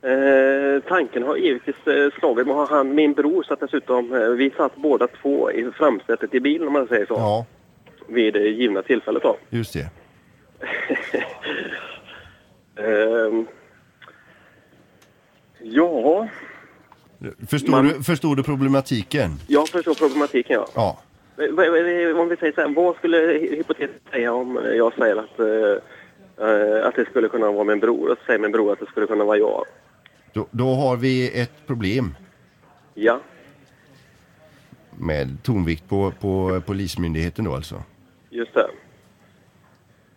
Speaker 10: Eh, tanken har givetvis eh, slagit mig. Har han, min bror satt dessutom, eh, vi satt båda två i framsätet i bilen om man säger så.
Speaker 3: Ja,
Speaker 10: Vid det givna tillfället då.
Speaker 3: just det.
Speaker 10: Ehm, ja,
Speaker 3: Förstår,
Speaker 10: Man-
Speaker 3: du, förstår du problematiken?
Speaker 10: jag förstår problematiken ja.
Speaker 3: Ja.
Speaker 10: Eh, vad- vad- Om vi säger så här, vad skulle hy- hypotetiskt säga om jag säger att, eh, eh, att det skulle kunna vara min bror och så säger min bror att det skulle kunna vara jag?
Speaker 3: Då, då har vi ett problem
Speaker 10: Ja.
Speaker 3: med tonvikt på, på polismyndigheten då alltså.
Speaker 10: Just det.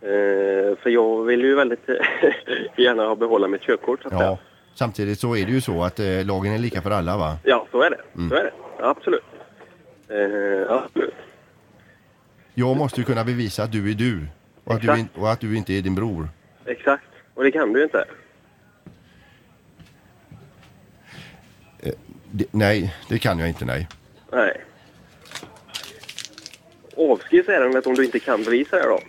Speaker 10: Eh, för jag vill ju väldigt eh, gärna ha behålla mitt körkort. Så att
Speaker 3: Ja.
Speaker 10: säga.
Speaker 3: Samtidigt så är det ju så att eh, lagen är lika för alla va?
Speaker 10: ja, så är det.
Speaker 3: Mm.
Speaker 10: Så är det. Absolut. Eh, absolut.
Speaker 3: Jag måste ju kunna bevisa att du är du och att du, in, och att du inte är din bror.
Speaker 10: Exakt. Och det kan du ju inte.
Speaker 3: Det, nej, det kan jag inte nej.
Speaker 10: Nej. Avskrivs ärendet om du inte kan bevisa det då?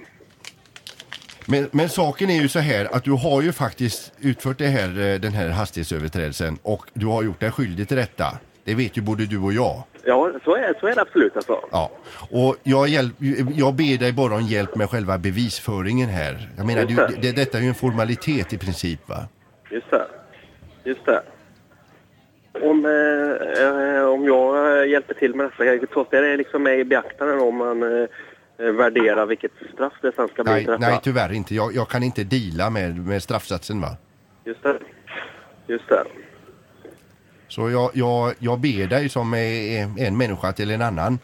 Speaker 3: Men, men saken är ju så här att du har ju faktiskt utfört det här, eh, den här hastighetsöverträdelsen och du har gjort dig skyldig till detta. Det vet ju både du och jag.
Speaker 10: Ja, så är, så är det absolut alltså.
Speaker 3: Ja. Och jag, hjälp, jag ber dig bara om hjälp med själva bevisföringen här. Jag menar, det, är ju- det, detta är ju en formalitet i princip va?
Speaker 10: Just det. Just det. Om, eh, eh, om jag eh, hjälper till med detta, jag tar det liksom med i beaktande om man eh, eh, värderar vilket straff det sen ska bli
Speaker 3: Nej,
Speaker 10: till detta.
Speaker 3: nej tyvärr inte. Jag, jag kan inte deala med, med straffsatsen va?
Speaker 10: Just det. Just det.
Speaker 3: Så jag, jag, jag ber dig som eh, en människa till en annan.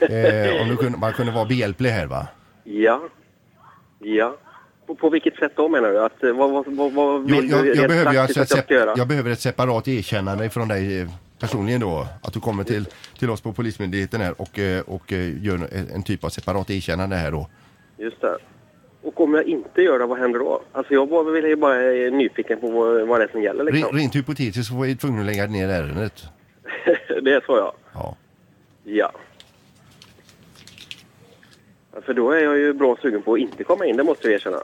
Speaker 3: Eh, om du kunde, man kunde vara behjälplig här va?
Speaker 10: Ja. Ja. På, på vilket sätt då menar du? Att, eh, vad, vad, vad, vad
Speaker 3: Jag,
Speaker 10: vill
Speaker 3: jag,
Speaker 10: du
Speaker 3: jag,
Speaker 10: rent
Speaker 3: behöver ju
Speaker 10: praktiskt
Speaker 3: alltså ett
Speaker 10: att jag
Speaker 3: sep-
Speaker 10: ska göra?
Speaker 3: jag behöver ett separat erkännande från dig eh, personligen då. Att du kommer till, till oss på Polismyndigheten här och, eh, och eh, gör en, en typ av separat erkännande här då.
Speaker 10: Just det. Och om jag inte gör det, vad händer då? Alltså jag bara, vill ju bara är nyfiken på vad, vad det är som gäller
Speaker 3: Re,
Speaker 10: liksom.
Speaker 3: rent hypotetiskt så var jag tvungen att lägga ner ärendet.
Speaker 10: det är så ja.
Speaker 3: Ja.
Speaker 10: Ja. Ja, För då är jag ju bra sugen på att inte komma in, det måste jag erkänna.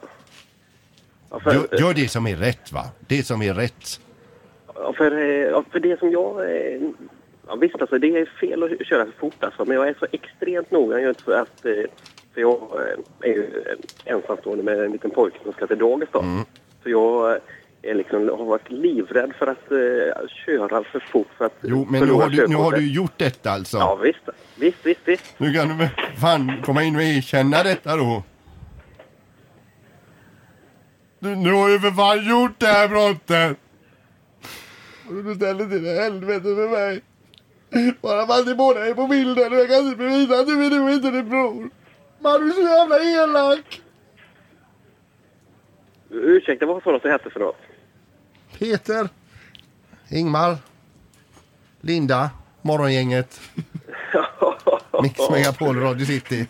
Speaker 10: Ja, för,
Speaker 3: Gör, gör det som är rätt va? Det som är rätt.
Speaker 10: ja, för, eh, ja, för det som jag... eh, Ja, visst, alltså, det är fel att köra för fort alltså, men jag är så extremt noga just för att... eh, För jag eh, är ju eh, ensamstående med en liten pojke som ska till dagis då.
Speaker 3: Mm.
Speaker 10: Så jag eh, är liksom, har varit livrädd för att eh, köra för fort för att
Speaker 3: Jo men nu
Speaker 10: förlora
Speaker 3: har du, nu har
Speaker 10: körkortet.
Speaker 3: du gjort detta alltså.
Speaker 10: Ja, visst. Visst, visst, visst.
Speaker 3: Nu kan du väl fan komma in och erkänna detta då. Du, nu har ju för fan gjort det här brottet. Och du ställer till det helvete för mig. Bara för att ni båda är på bilden och jag kan inte bevisa att du är du och inte din bror. Man du är så jävla elak.
Speaker 10: Ursäkta, vad sa du att det hette för något?
Speaker 3: Peter. Ingmar. Linda. Morgongänget. Mix Megapol Radio City.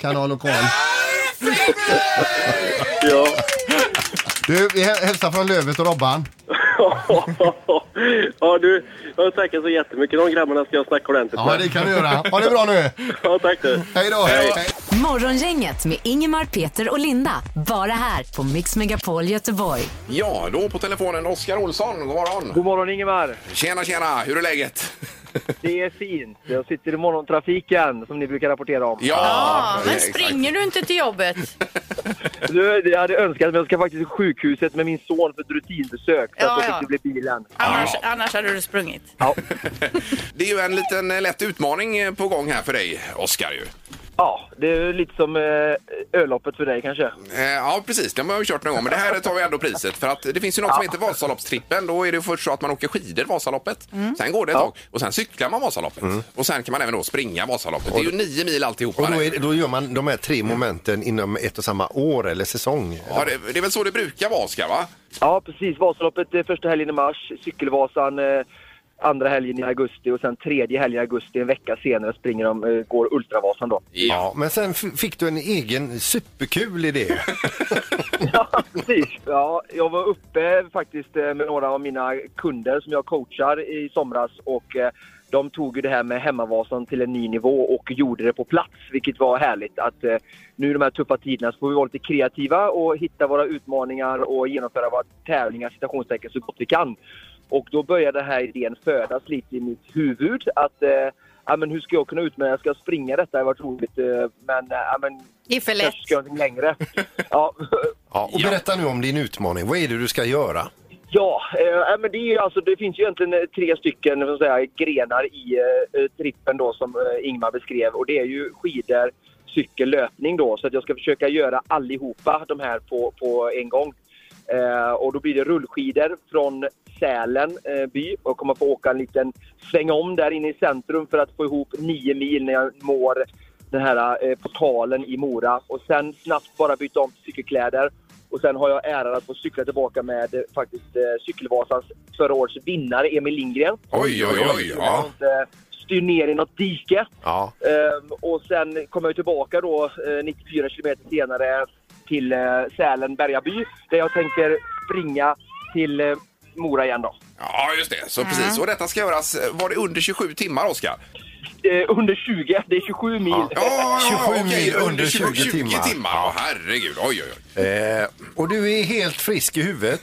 Speaker 3: Kanal Lokal.
Speaker 10: Ja.
Speaker 3: Du, vi hä- hälsar från Lövet och Robban.
Speaker 10: ja, du. Jag tackar så jättemycket. De grabbarna ska jag snacka ordentligt
Speaker 3: Ja, det kan du göra. Ha det bra nu.
Speaker 10: Ja, tack du.
Speaker 3: Hej då. Hej.
Speaker 1: Morgongänget med Ingemar, Peter och Linda. Bara här på Mix Megapol Göteborg.
Speaker 2: Ja, då på telefonen Oskar Olsson. God morgon! God
Speaker 11: morgon Ingemar!
Speaker 2: Tjena, tjena! Hur är läget?
Speaker 11: Det är fint. Jag sitter i morgontrafiken som ni brukar rapportera om.
Speaker 4: Ja, men springer du inte till jobbet?
Speaker 11: Du, jag hade önskat men jag ska faktiskt till sjukhuset med min son för ett rutinbesök. Så
Speaker 4: Ja,
Speaker 11: att då
Speaker 4: ja.
Speaker 11: fick det bli bilen.
Speaker 4: Annars, annars hade du sprungit.
Speaker 2: Det är ju en liten eh, lätt utmaning eh, på gång här för dig, Oskar. Ju.
Speaker 11: Ja, det är ju lite som eh, öloppet för dig kanske.
Speaker 2: Eh, Ja, precis. Det har vi kört någon gång, men det här tar vi ändå priset. För att det finns ju något som heter Vasaloppstrippen. Då är det först så att man åker skidor Vasaloppet, sen går det ett tag och sen cyklar man Vasaloppet. Och sen kan man även då springa Vasaloppet. Det är ju nio mil alltihopa.
Speaker 12: Och då,
Speaker 2: det.
Speaker 12: är, då gör man de här tre momenten inom ett och samma år eller säsong.
Speaker 2: Ja, det, det är väl så det brukar vara, Oskar? Va?
Speaker 11: Ja, precis. Vasaloppet eh, första helgen i mars, Cykelvasan eh, andra helgen i augusti och sen tredje helgen i augusti en vecka senare springer de, eh, går Ultravasan då.
Speaker 12: Ja, men sen f- fick du en egen superkul idé.
Speaker 11: Precis. Ja, jag var uppe faktiskt eh, med några av mina kunder som jag coachar i somras och eh, de tog ju det här med Hemmavasan till en ny nivå och gjorde det på plats, vilket var härligt. Att eh, nu i de här tuffa tiderna så får vi vara lite kreativa och hitta våra utmaningar och genomföra våra tävlingar citationstecken så gott vi kan. Och då började den här idén födas lite i mitt huvud. Att eh, ja, men hur ska jag kunna utmana, ska jag springa detta? Det har varit roligt. eh, Men, eh, ja, men
Speaker 4: Det är för lätt.
Speaker 11: kanske ska jag någonting längre. ja,
Speaker 3: Ja, och berätta nu om din utmaning. Vad är det du ska göra?
Speaker 11: Ja, eh, nej, men det, är ju alltså, det finns ju egentligen eh, tre stycken vad ska jag säga, grenar i eh, trippen då, som eh, Ingmar beskrev. Och det är ju skidor, cykel, löpning. Då, så att jag ska försöka göra allihopa de här på, på en gång. Eh, och då blir det rullskidor från Sälen eh, by och kommer få åka en liten sväng om där inne i centrum för att få ihop nio mil när jag når den här eh, portalen i Mora. Och sen snabbt bara byta om till cykelkläder. Och sen har jag äran att få cykla tillbaka med eh, faktiskt eh, Cykelvasans förra års vinnare Emil Lindgren.
Speaker 2: Oj, oj, oj. Ja.
Speaker 11: Eh, Styr ner i något dike.
Speaker 3: Ja.
Speaker 11: Ehm, och sen kommer jag tillbaka då eh, 94 kilometer senare till eh, Sälen, Bergaby, där jag tänker springa till eh, Mora igen då.
Speaker 2: ja, just det. Så precis. Och detta ska göras, eh, var det under 27 timmar, Oskar?
Speaker 11: Eh, under 20, det är 27 mil.
Speaker 2: Ja, ja, ja,
Speaker 3: 27
Speaker 2: okej,
Speaker 3: mil under 20
Speaker 2: timmar.
Speaker 3: timmar.
Speaker 2: Ja, herregud. Oj, oj, oj.
Speaker 3: Eh, och du är helt frisk i huvudet.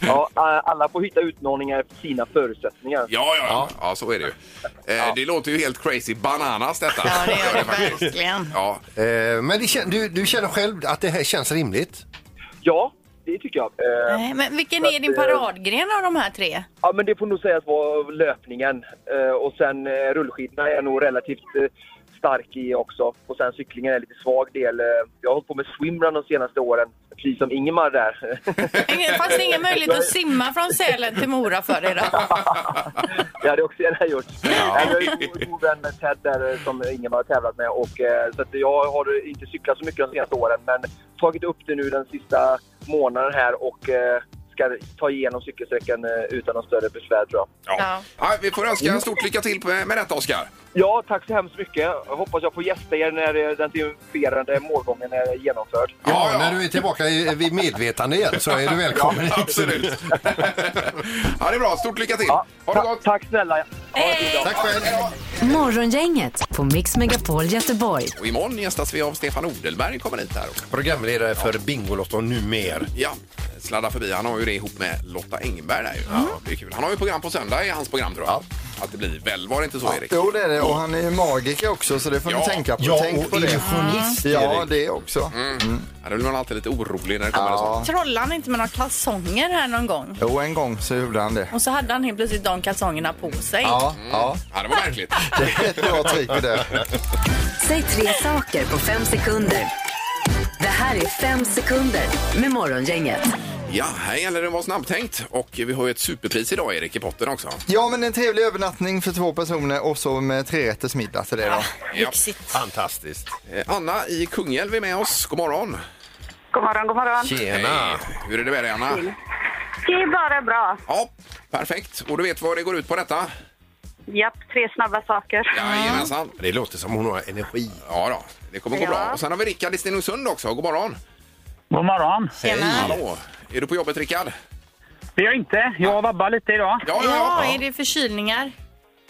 Speaker 11: Ja, a- alla får hitta utmaningar efter sina förutsättningar.
Speaker 2: Ja, ja, ja. ja så är det ju. Eh, Det låter ju helt crazy bananas detta.
Speaker 4: Ja, det gör det
Speaker 2: faktiskt.
Speaker 4: verkligen.
Speaker 2: Ja,
Speaker 3: Eh, men det kän- du, du känner själv att det här känns rimligt?
Speaker 11: Ja, det tycker jag. Ehm,
Speaker 4: Nej, men vilken
Speaker 11: så
Speaker 4: är
Speaker 11: att,
Speaker 4: din
Speaker 11: eh,
Speaker 4: paradgren av de här tre?
Speaker 11: Ja, men det får nog sägas vara löpningen. Eh, och sen eh, rullskidorna är jag nog relativt eh, stark i också. Och sen cyklingen är en lite svag del. Eh, jag har hållit på med swimrun de senaste åren, precis som Ingemar där.
Speaker 4: Ingen, fanns det ingen möjlighet att simma från Sälen till Mora för dig då?
Speaker 11: det hade jag också gärna gjort. Nej, jag är ju god vän med Ted där eh, som Ingemar har tävlat med. Och, eh, så att jag har inte cyklat så mycket de senaste åren, men tagit upp det nu den sista månaden här och eh, ska ta igenom cykelsträckan eh, utan någon större besvär tror jag.
Speaker 2: ja. ja, vi får önska stort lycka till med, med detta, Oskar.
Speaker 11: Ja, tack så hemskt mycket. Jag hoppas jag får gästa er när eh, den triumferande målgången är genomförd.
Speaker 3: Ja, när du är tillbaka i- vid medvetande igen så är du välkommen.
Speaker 2: Ja, absolut. ja, det är bra. Stort lycka till. Ha det gott.
Speaker 11: Tack snälla.
Speaker 2: Tack själv.
Speaker 1: Morgongänget på Mix Megapol Göteborg.
Speaker 2: Och imorgon gästas vi av Stefan Odelberg. kommer hit här.
Speaker 3: Programledare för Bingolotto numer.
Speaker 2: Ja, sladda förbi. Han har ju det ihop med Lotta Engberg. Där. ju. Ja, det är kul. Han har ju program på söndag i hans program, tror jag. Att det blir väl, var det inte så, Erik?
Speaker 5: Jo, det är det. Och han är ju magiker också, så det får
Speaker 2: Ja.
Speaker 5: ni tänka på.
Speaker 3: Ja,
Speaker 5: Tänk
Speaker 3: och
Speaker 5: på det.
Speaker 3: illusionist,
Speaker 5: Ja,
Speaker 3: Erik.
Speaker 5: det också.
Speaker 2: Ja, då blir man alltid lite orolig när det kommer
Speaker 5: Ja.
Speaker 2: en sån.
Speaker 4: Trollade han inte med några kalsonger här någon gång?
Speaker 5: Jo, en gång så gjorde han det.
Speaker 4: Och så hade han helt plötsligt de kalsongerna på sig.
Speaker 5: Ja, ja.
Speaker 2: Mm. Ja, det var märkligt.
Speaker 5: Det är ett bra trick det där.
Speaker 1: Säg tre saker på fem sekunder. Det här är fem sekunder med Morgongänget.
Speaker 2: Ja, här gäller det att vara snabbtänkt. Och vi har ju ett superpris idag, Erik, i potten också.
Speaker 5: Ja, men en trevlig övernattning för två personer och så med trerättersmiddag till det då.
Speaker 2: Ja.
Speaker 4: Lyxigt.
Speaker 3: Fantastiskt.
Speaker 2: Eh, Anna i Kungälv är med oss. God morgon.
Speaker 13: God morgon, god morgon.
Speaker 3: Tjena!
Speaker 2: Hej. Hur är det med dig, Anna?
Speaker 13: Det är bara bra.
Speaker 2: Ja, perfekt. Och du vet vad det går ut på detta?
Speaker 13: Japp, tre snabba saker.
Speaker 2: Jajamensan.
Speaker 3: Det låter som hon har energi.
Speaker 2: Ja då, det kommer gå
Speaker 13: Ja.
Speaker 2: bra. Och sen har vi Rickard i Stenungsund också. God morgon.
Speaker 14: God morgon.
Speaker 2: Hallå. Är du på jobbet, Rickard?
Speaker 14: Det är jag inte. Jag vabbar lite idag.
Speaker 2: Ja,
Speaker 4: Ja, är det förkylningar?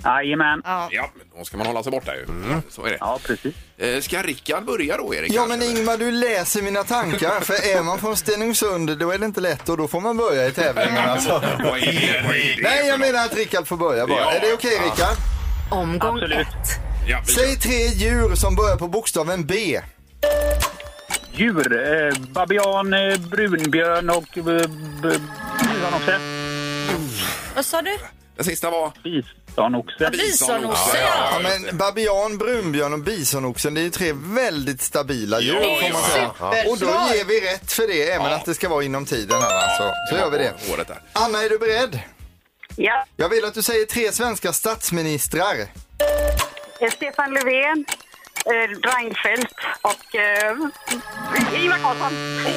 Speaker 14: Jajamän.
Speaker 4: Ja.
Speaker 2: Ja, men då ska man hålla sig borta ju. Så är det.
Speaker 14: Ja, precis.
Speaker 2: Eh, Ska Rickard börja då, Erik?
Speaker 5: Mm. Ja men Ingmar, du läser mina tankar. För är man från Stenungsund då är det inte lätt och då får man börja i tävlingen alltså.
Speaker 2: Vad är det? Vad är det?
Speaker 5: Nej, jag menar att Rickard får börja bara. Är det okej Rickard?
Speaker 1: Omgång
Speaker 14: Absolut.
Speaker 1: ett.
Speaker 2: Ja, vi-
Speaker 5: Säg tre djur som börjar på bokstaven B.
Speaker 14: Djur. Eh, babian, eh, brunbjörn och... Eh, b- bisanoxe.
Speaker 4: Vad sa du?
Speaker 2: Den sista var...
Speaker 14: Bisanoxe.
Speaker 4: Bisonoxe,
Speaker 5: Ja,
Speaker 4: ja.
Speaker 5: men babian, brunbjörn och bisonoxen det är ju tre väldigt stabila djur.
Speaker 2: Ja,
Speaker 5: får man
Speaker 2: ja,
Speaker 5: säga.
Speaker 4: ja.
Speaker 5: Och då ger vi rätt för det, även
Speaker 2: Ja.
Speaker 5: att det ska vara inom tiden här alltså. Så gör vi det.
Speaker 2: Året där.
Speaker 5: Anna, är du beredd?
Speaker 13: Ja.
Speaker 5: Jag vill att du säger tre svenska statsministrar.
Speaker 13: Eh, Stefan Löfven, eh, Reinfeldt och eh, Ingvar Carlsson.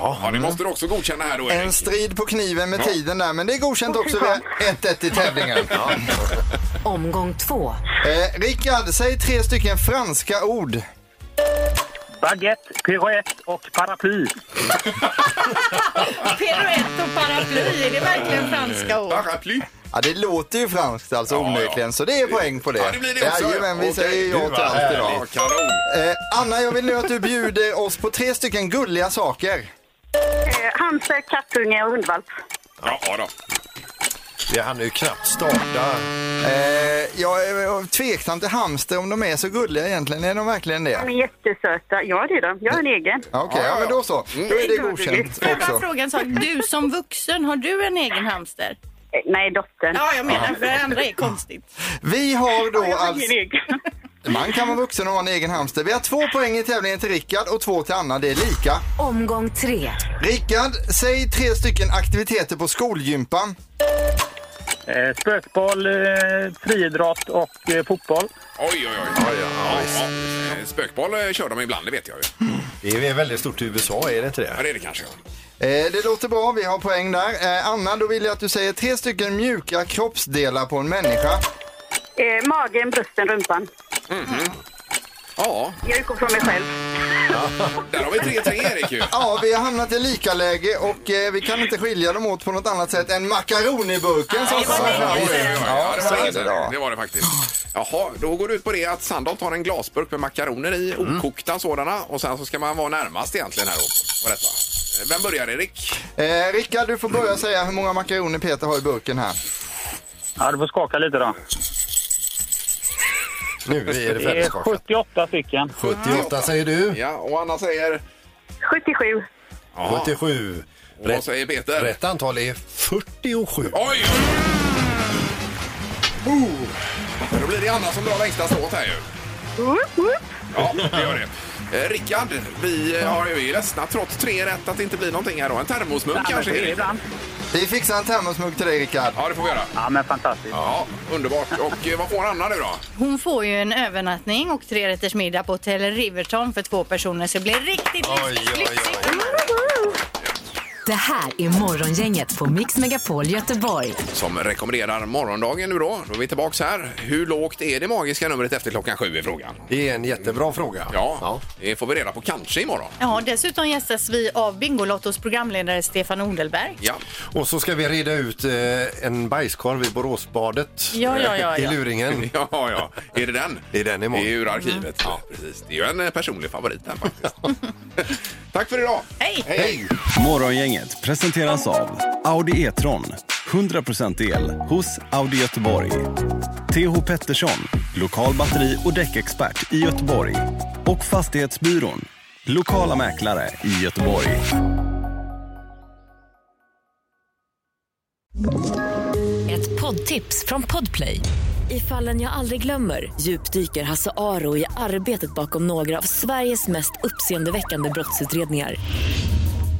Speaker 2: Ja, det måste du också godkänna här då,
Speaker 5: En
Speaker 2: Erik.
Speaker 5: strid på kniven med tiden där, men det är godkänt också. Vi har 1-1 i tävlingen.
Speaker 1: Omgång två.
Speaker 5: Eh, Rickard, säg tre stycken franska ord.
Speaker 14: Baguette, pirouette och paraply.
Speaker 4: Piruett och paraply, är det verkligen franska ord?
Speaker 2: Paraply.
Speaker 5: Ja, det låter ju franskt alltså onekligen, så det är poäng på det.
Speaker 2: Ja, det blir det också.
Speaker 5: Jajamän, vi
Speaker 2: Okej.
Speaker 5: säger
Speaker 2: Du,
Speaker 5: ja
Speaker 2: vad
Speaker 5: till allt idag.
Speaker 2: härligt. Kanon.
Speaker 5: Eh, Anna, jag vill nu att du bjuder oss på tre stycken gulliga saker.
Speaker 13: Eh, hamster, kattunge och hundvalp.
Speaker 2: Ja, då.
Speaker 3: Vi hann ju knappt starta.
Speaker 5: Eh, jag är tveksam till hamster om de är så gulliga egentligen. Är de verkligen det?
Speaker 13: De är jättesöta. Ja, det är de. Jag har en egen.
Speaker 5: Ja, Okej, ja, men då så. Då är det godkänt
Speaker 4: Mm.
Speaker 13: Får jag
Speaker 5: också.
Speaker 13: bara fråga
Speaker 4: en sak? Du som vuxen, har du en egen hamster?
Speaker 13: Eh, Nej, dottern.
Speaker 4: Ja, jag menar,
Speaker 5: Ja.
Speaker 4: för det andra är konstigt.
Speaker 5: Vi har då
Speaker 4: Ja, jag har
Speaker 5: alltså...
Speaker 4: ingen
Speaker 5: Man kan vara vuxen och ha en egen hamster. Vi har två poäng i tävlingen till Rickard och två till Anna. Det är lika.
Speaker 1: Omgång tre.
Speaker 5: Rickard, säg tre stycken aktiviteter på skolgympan.
Speaker 14: Eh, Spökboll, eh, friidrott och eh, fotboll.
Speaker 2: Oj, oj, oj. ja, ja. Eh, Spökboll eh, kör de ibland, det vet jag ju.
Speaker 3: Det är väldigt stort i USA, är det inte det?
Speaker 2: Ja, det är det kanske.
Speaker 5: Eh, det låter bra, vi har poäng där. Eh, Anna, då vill jag att du säger tre stycken mjuka kroppsdelar på en människa.
Speaker 13: Eh, magen, brösten, rumpan.
Speaker 2: Ja.
Speaker 13: Jag utgår från mig själv.
Speaker 2: Där har vi 3-3 Erik ju.
Speaker 5: Ja, vi har hamnat i lika läge och eh, vi kan inte skilja dem åt på något annat sätt än makaroniburken som kommer fram.
Speaker 2: Oj, oj, oj. Ja, det
Speaker 5: så
Speaker 2: var
Speaker 5: är
Speaker 2: länge
Speaker 5: det
Speaker 2: sedan.
Speaker 5: då.
Speaker 2: Det var det faktiskt. Jaha, då går det ut på det att Sandholt har en glasburk med makaroner i, okokta sådana. Och sen så ska man vara närmast egentligen här då, på detta. Eh, Vem börjar Erik?
Speaker 5: Eh, Rickard, du får börja säga hur många makaroner Peter har i burken här.
Speaker 14: Ja, du får skaka lite då.
Speaker 3: Nu är det
Speaker 14: Det är
Speaker 3: färdigskakat.
Speaker 14: 78 stycken.
Speaker 3: 78 säger du.
Speaker 2: Ja, och Anna säger?
Speaker 13: 77.
Speaker 2: Ja.
Speaker 3: 77.
Speaker 2: Och vad säger Peter?
Speaker 3: Rätt antal är 47.
Speaker 2: Oj! Men Oh. då blir det Anna som drar längsta strået här ju. Ja, det gör det. Eh, Rickard, vi eh, har ju ledsna trots tre rätt att det inte blir någonting här då. En termosmugg
Speaker 14: Ja, men
Speaker 2: kanske?
Speaker 14: det är
Speaker 2: Erik?
Speaker 14: ibland.
Speaker 5: Vi fixar en termosmugg till dig Rickard.
Speaker 2: Ja, det får vi göra.
Speaker 14: Ja, men fantastiskt.
Speaker 2: Ja, underbart. Och eh, vad får Anna nu då?
Speaker 4: Hon får ju en övernattning och tre rätters middag på Hotel Riverton för två personer så det blir riktigt lyxigt.
Speaker 1: Det här är Morgongänget på Mix Megapol Göteborg.
Speaker 2: Som rekommenderar morgondagen nu då. Då är vi tillbaks här. Hur lågt är det magiska numret efter klockan sju i frågan?
Speaker 3: Det är en jättebra fråga.
Speaker 2: Ja, det får vi reda på kanske imorgon.
Speaker 4: Ja, dessutom gästas vi av Bingolottos programledare Stefan Odelberg.
Speaker 2: Ja.
Speaker 3: Och så ska vi reda ut eh, en bajskorv i Boråsbadet. eh,
Speaker 4: Ja, ja, ja,
Speaker 3: I
Speaker 4: ja.
Speaker 3: luringen.
Speaker 2: Ja, ja. Är det den?
Speaker 3: Det är den imorgon.
Speaker 2: Det är ur arkivet. Ja, precis. Det är ju en eh, personlig favorit den faktiskt. Tack för idag!
Speaker 4: Hej!
Speaker 2: Hej!
Speaker 15: Morgongänget presenteras av Audi E-tron. 100% el hos Audi Göteborg. TH Pettersson, lokal batteri och däckexpert i Göteborg. Och Fastighetsbyrån, lokala mäklare i Göteborg.
Speaker 16: Ett poddtips från Podplay. I fallen jag aldrig glömmer djupdyker Hasse Aro i arbetet bakom några av Sveriges mest uppseendeväckande brottsutredningar.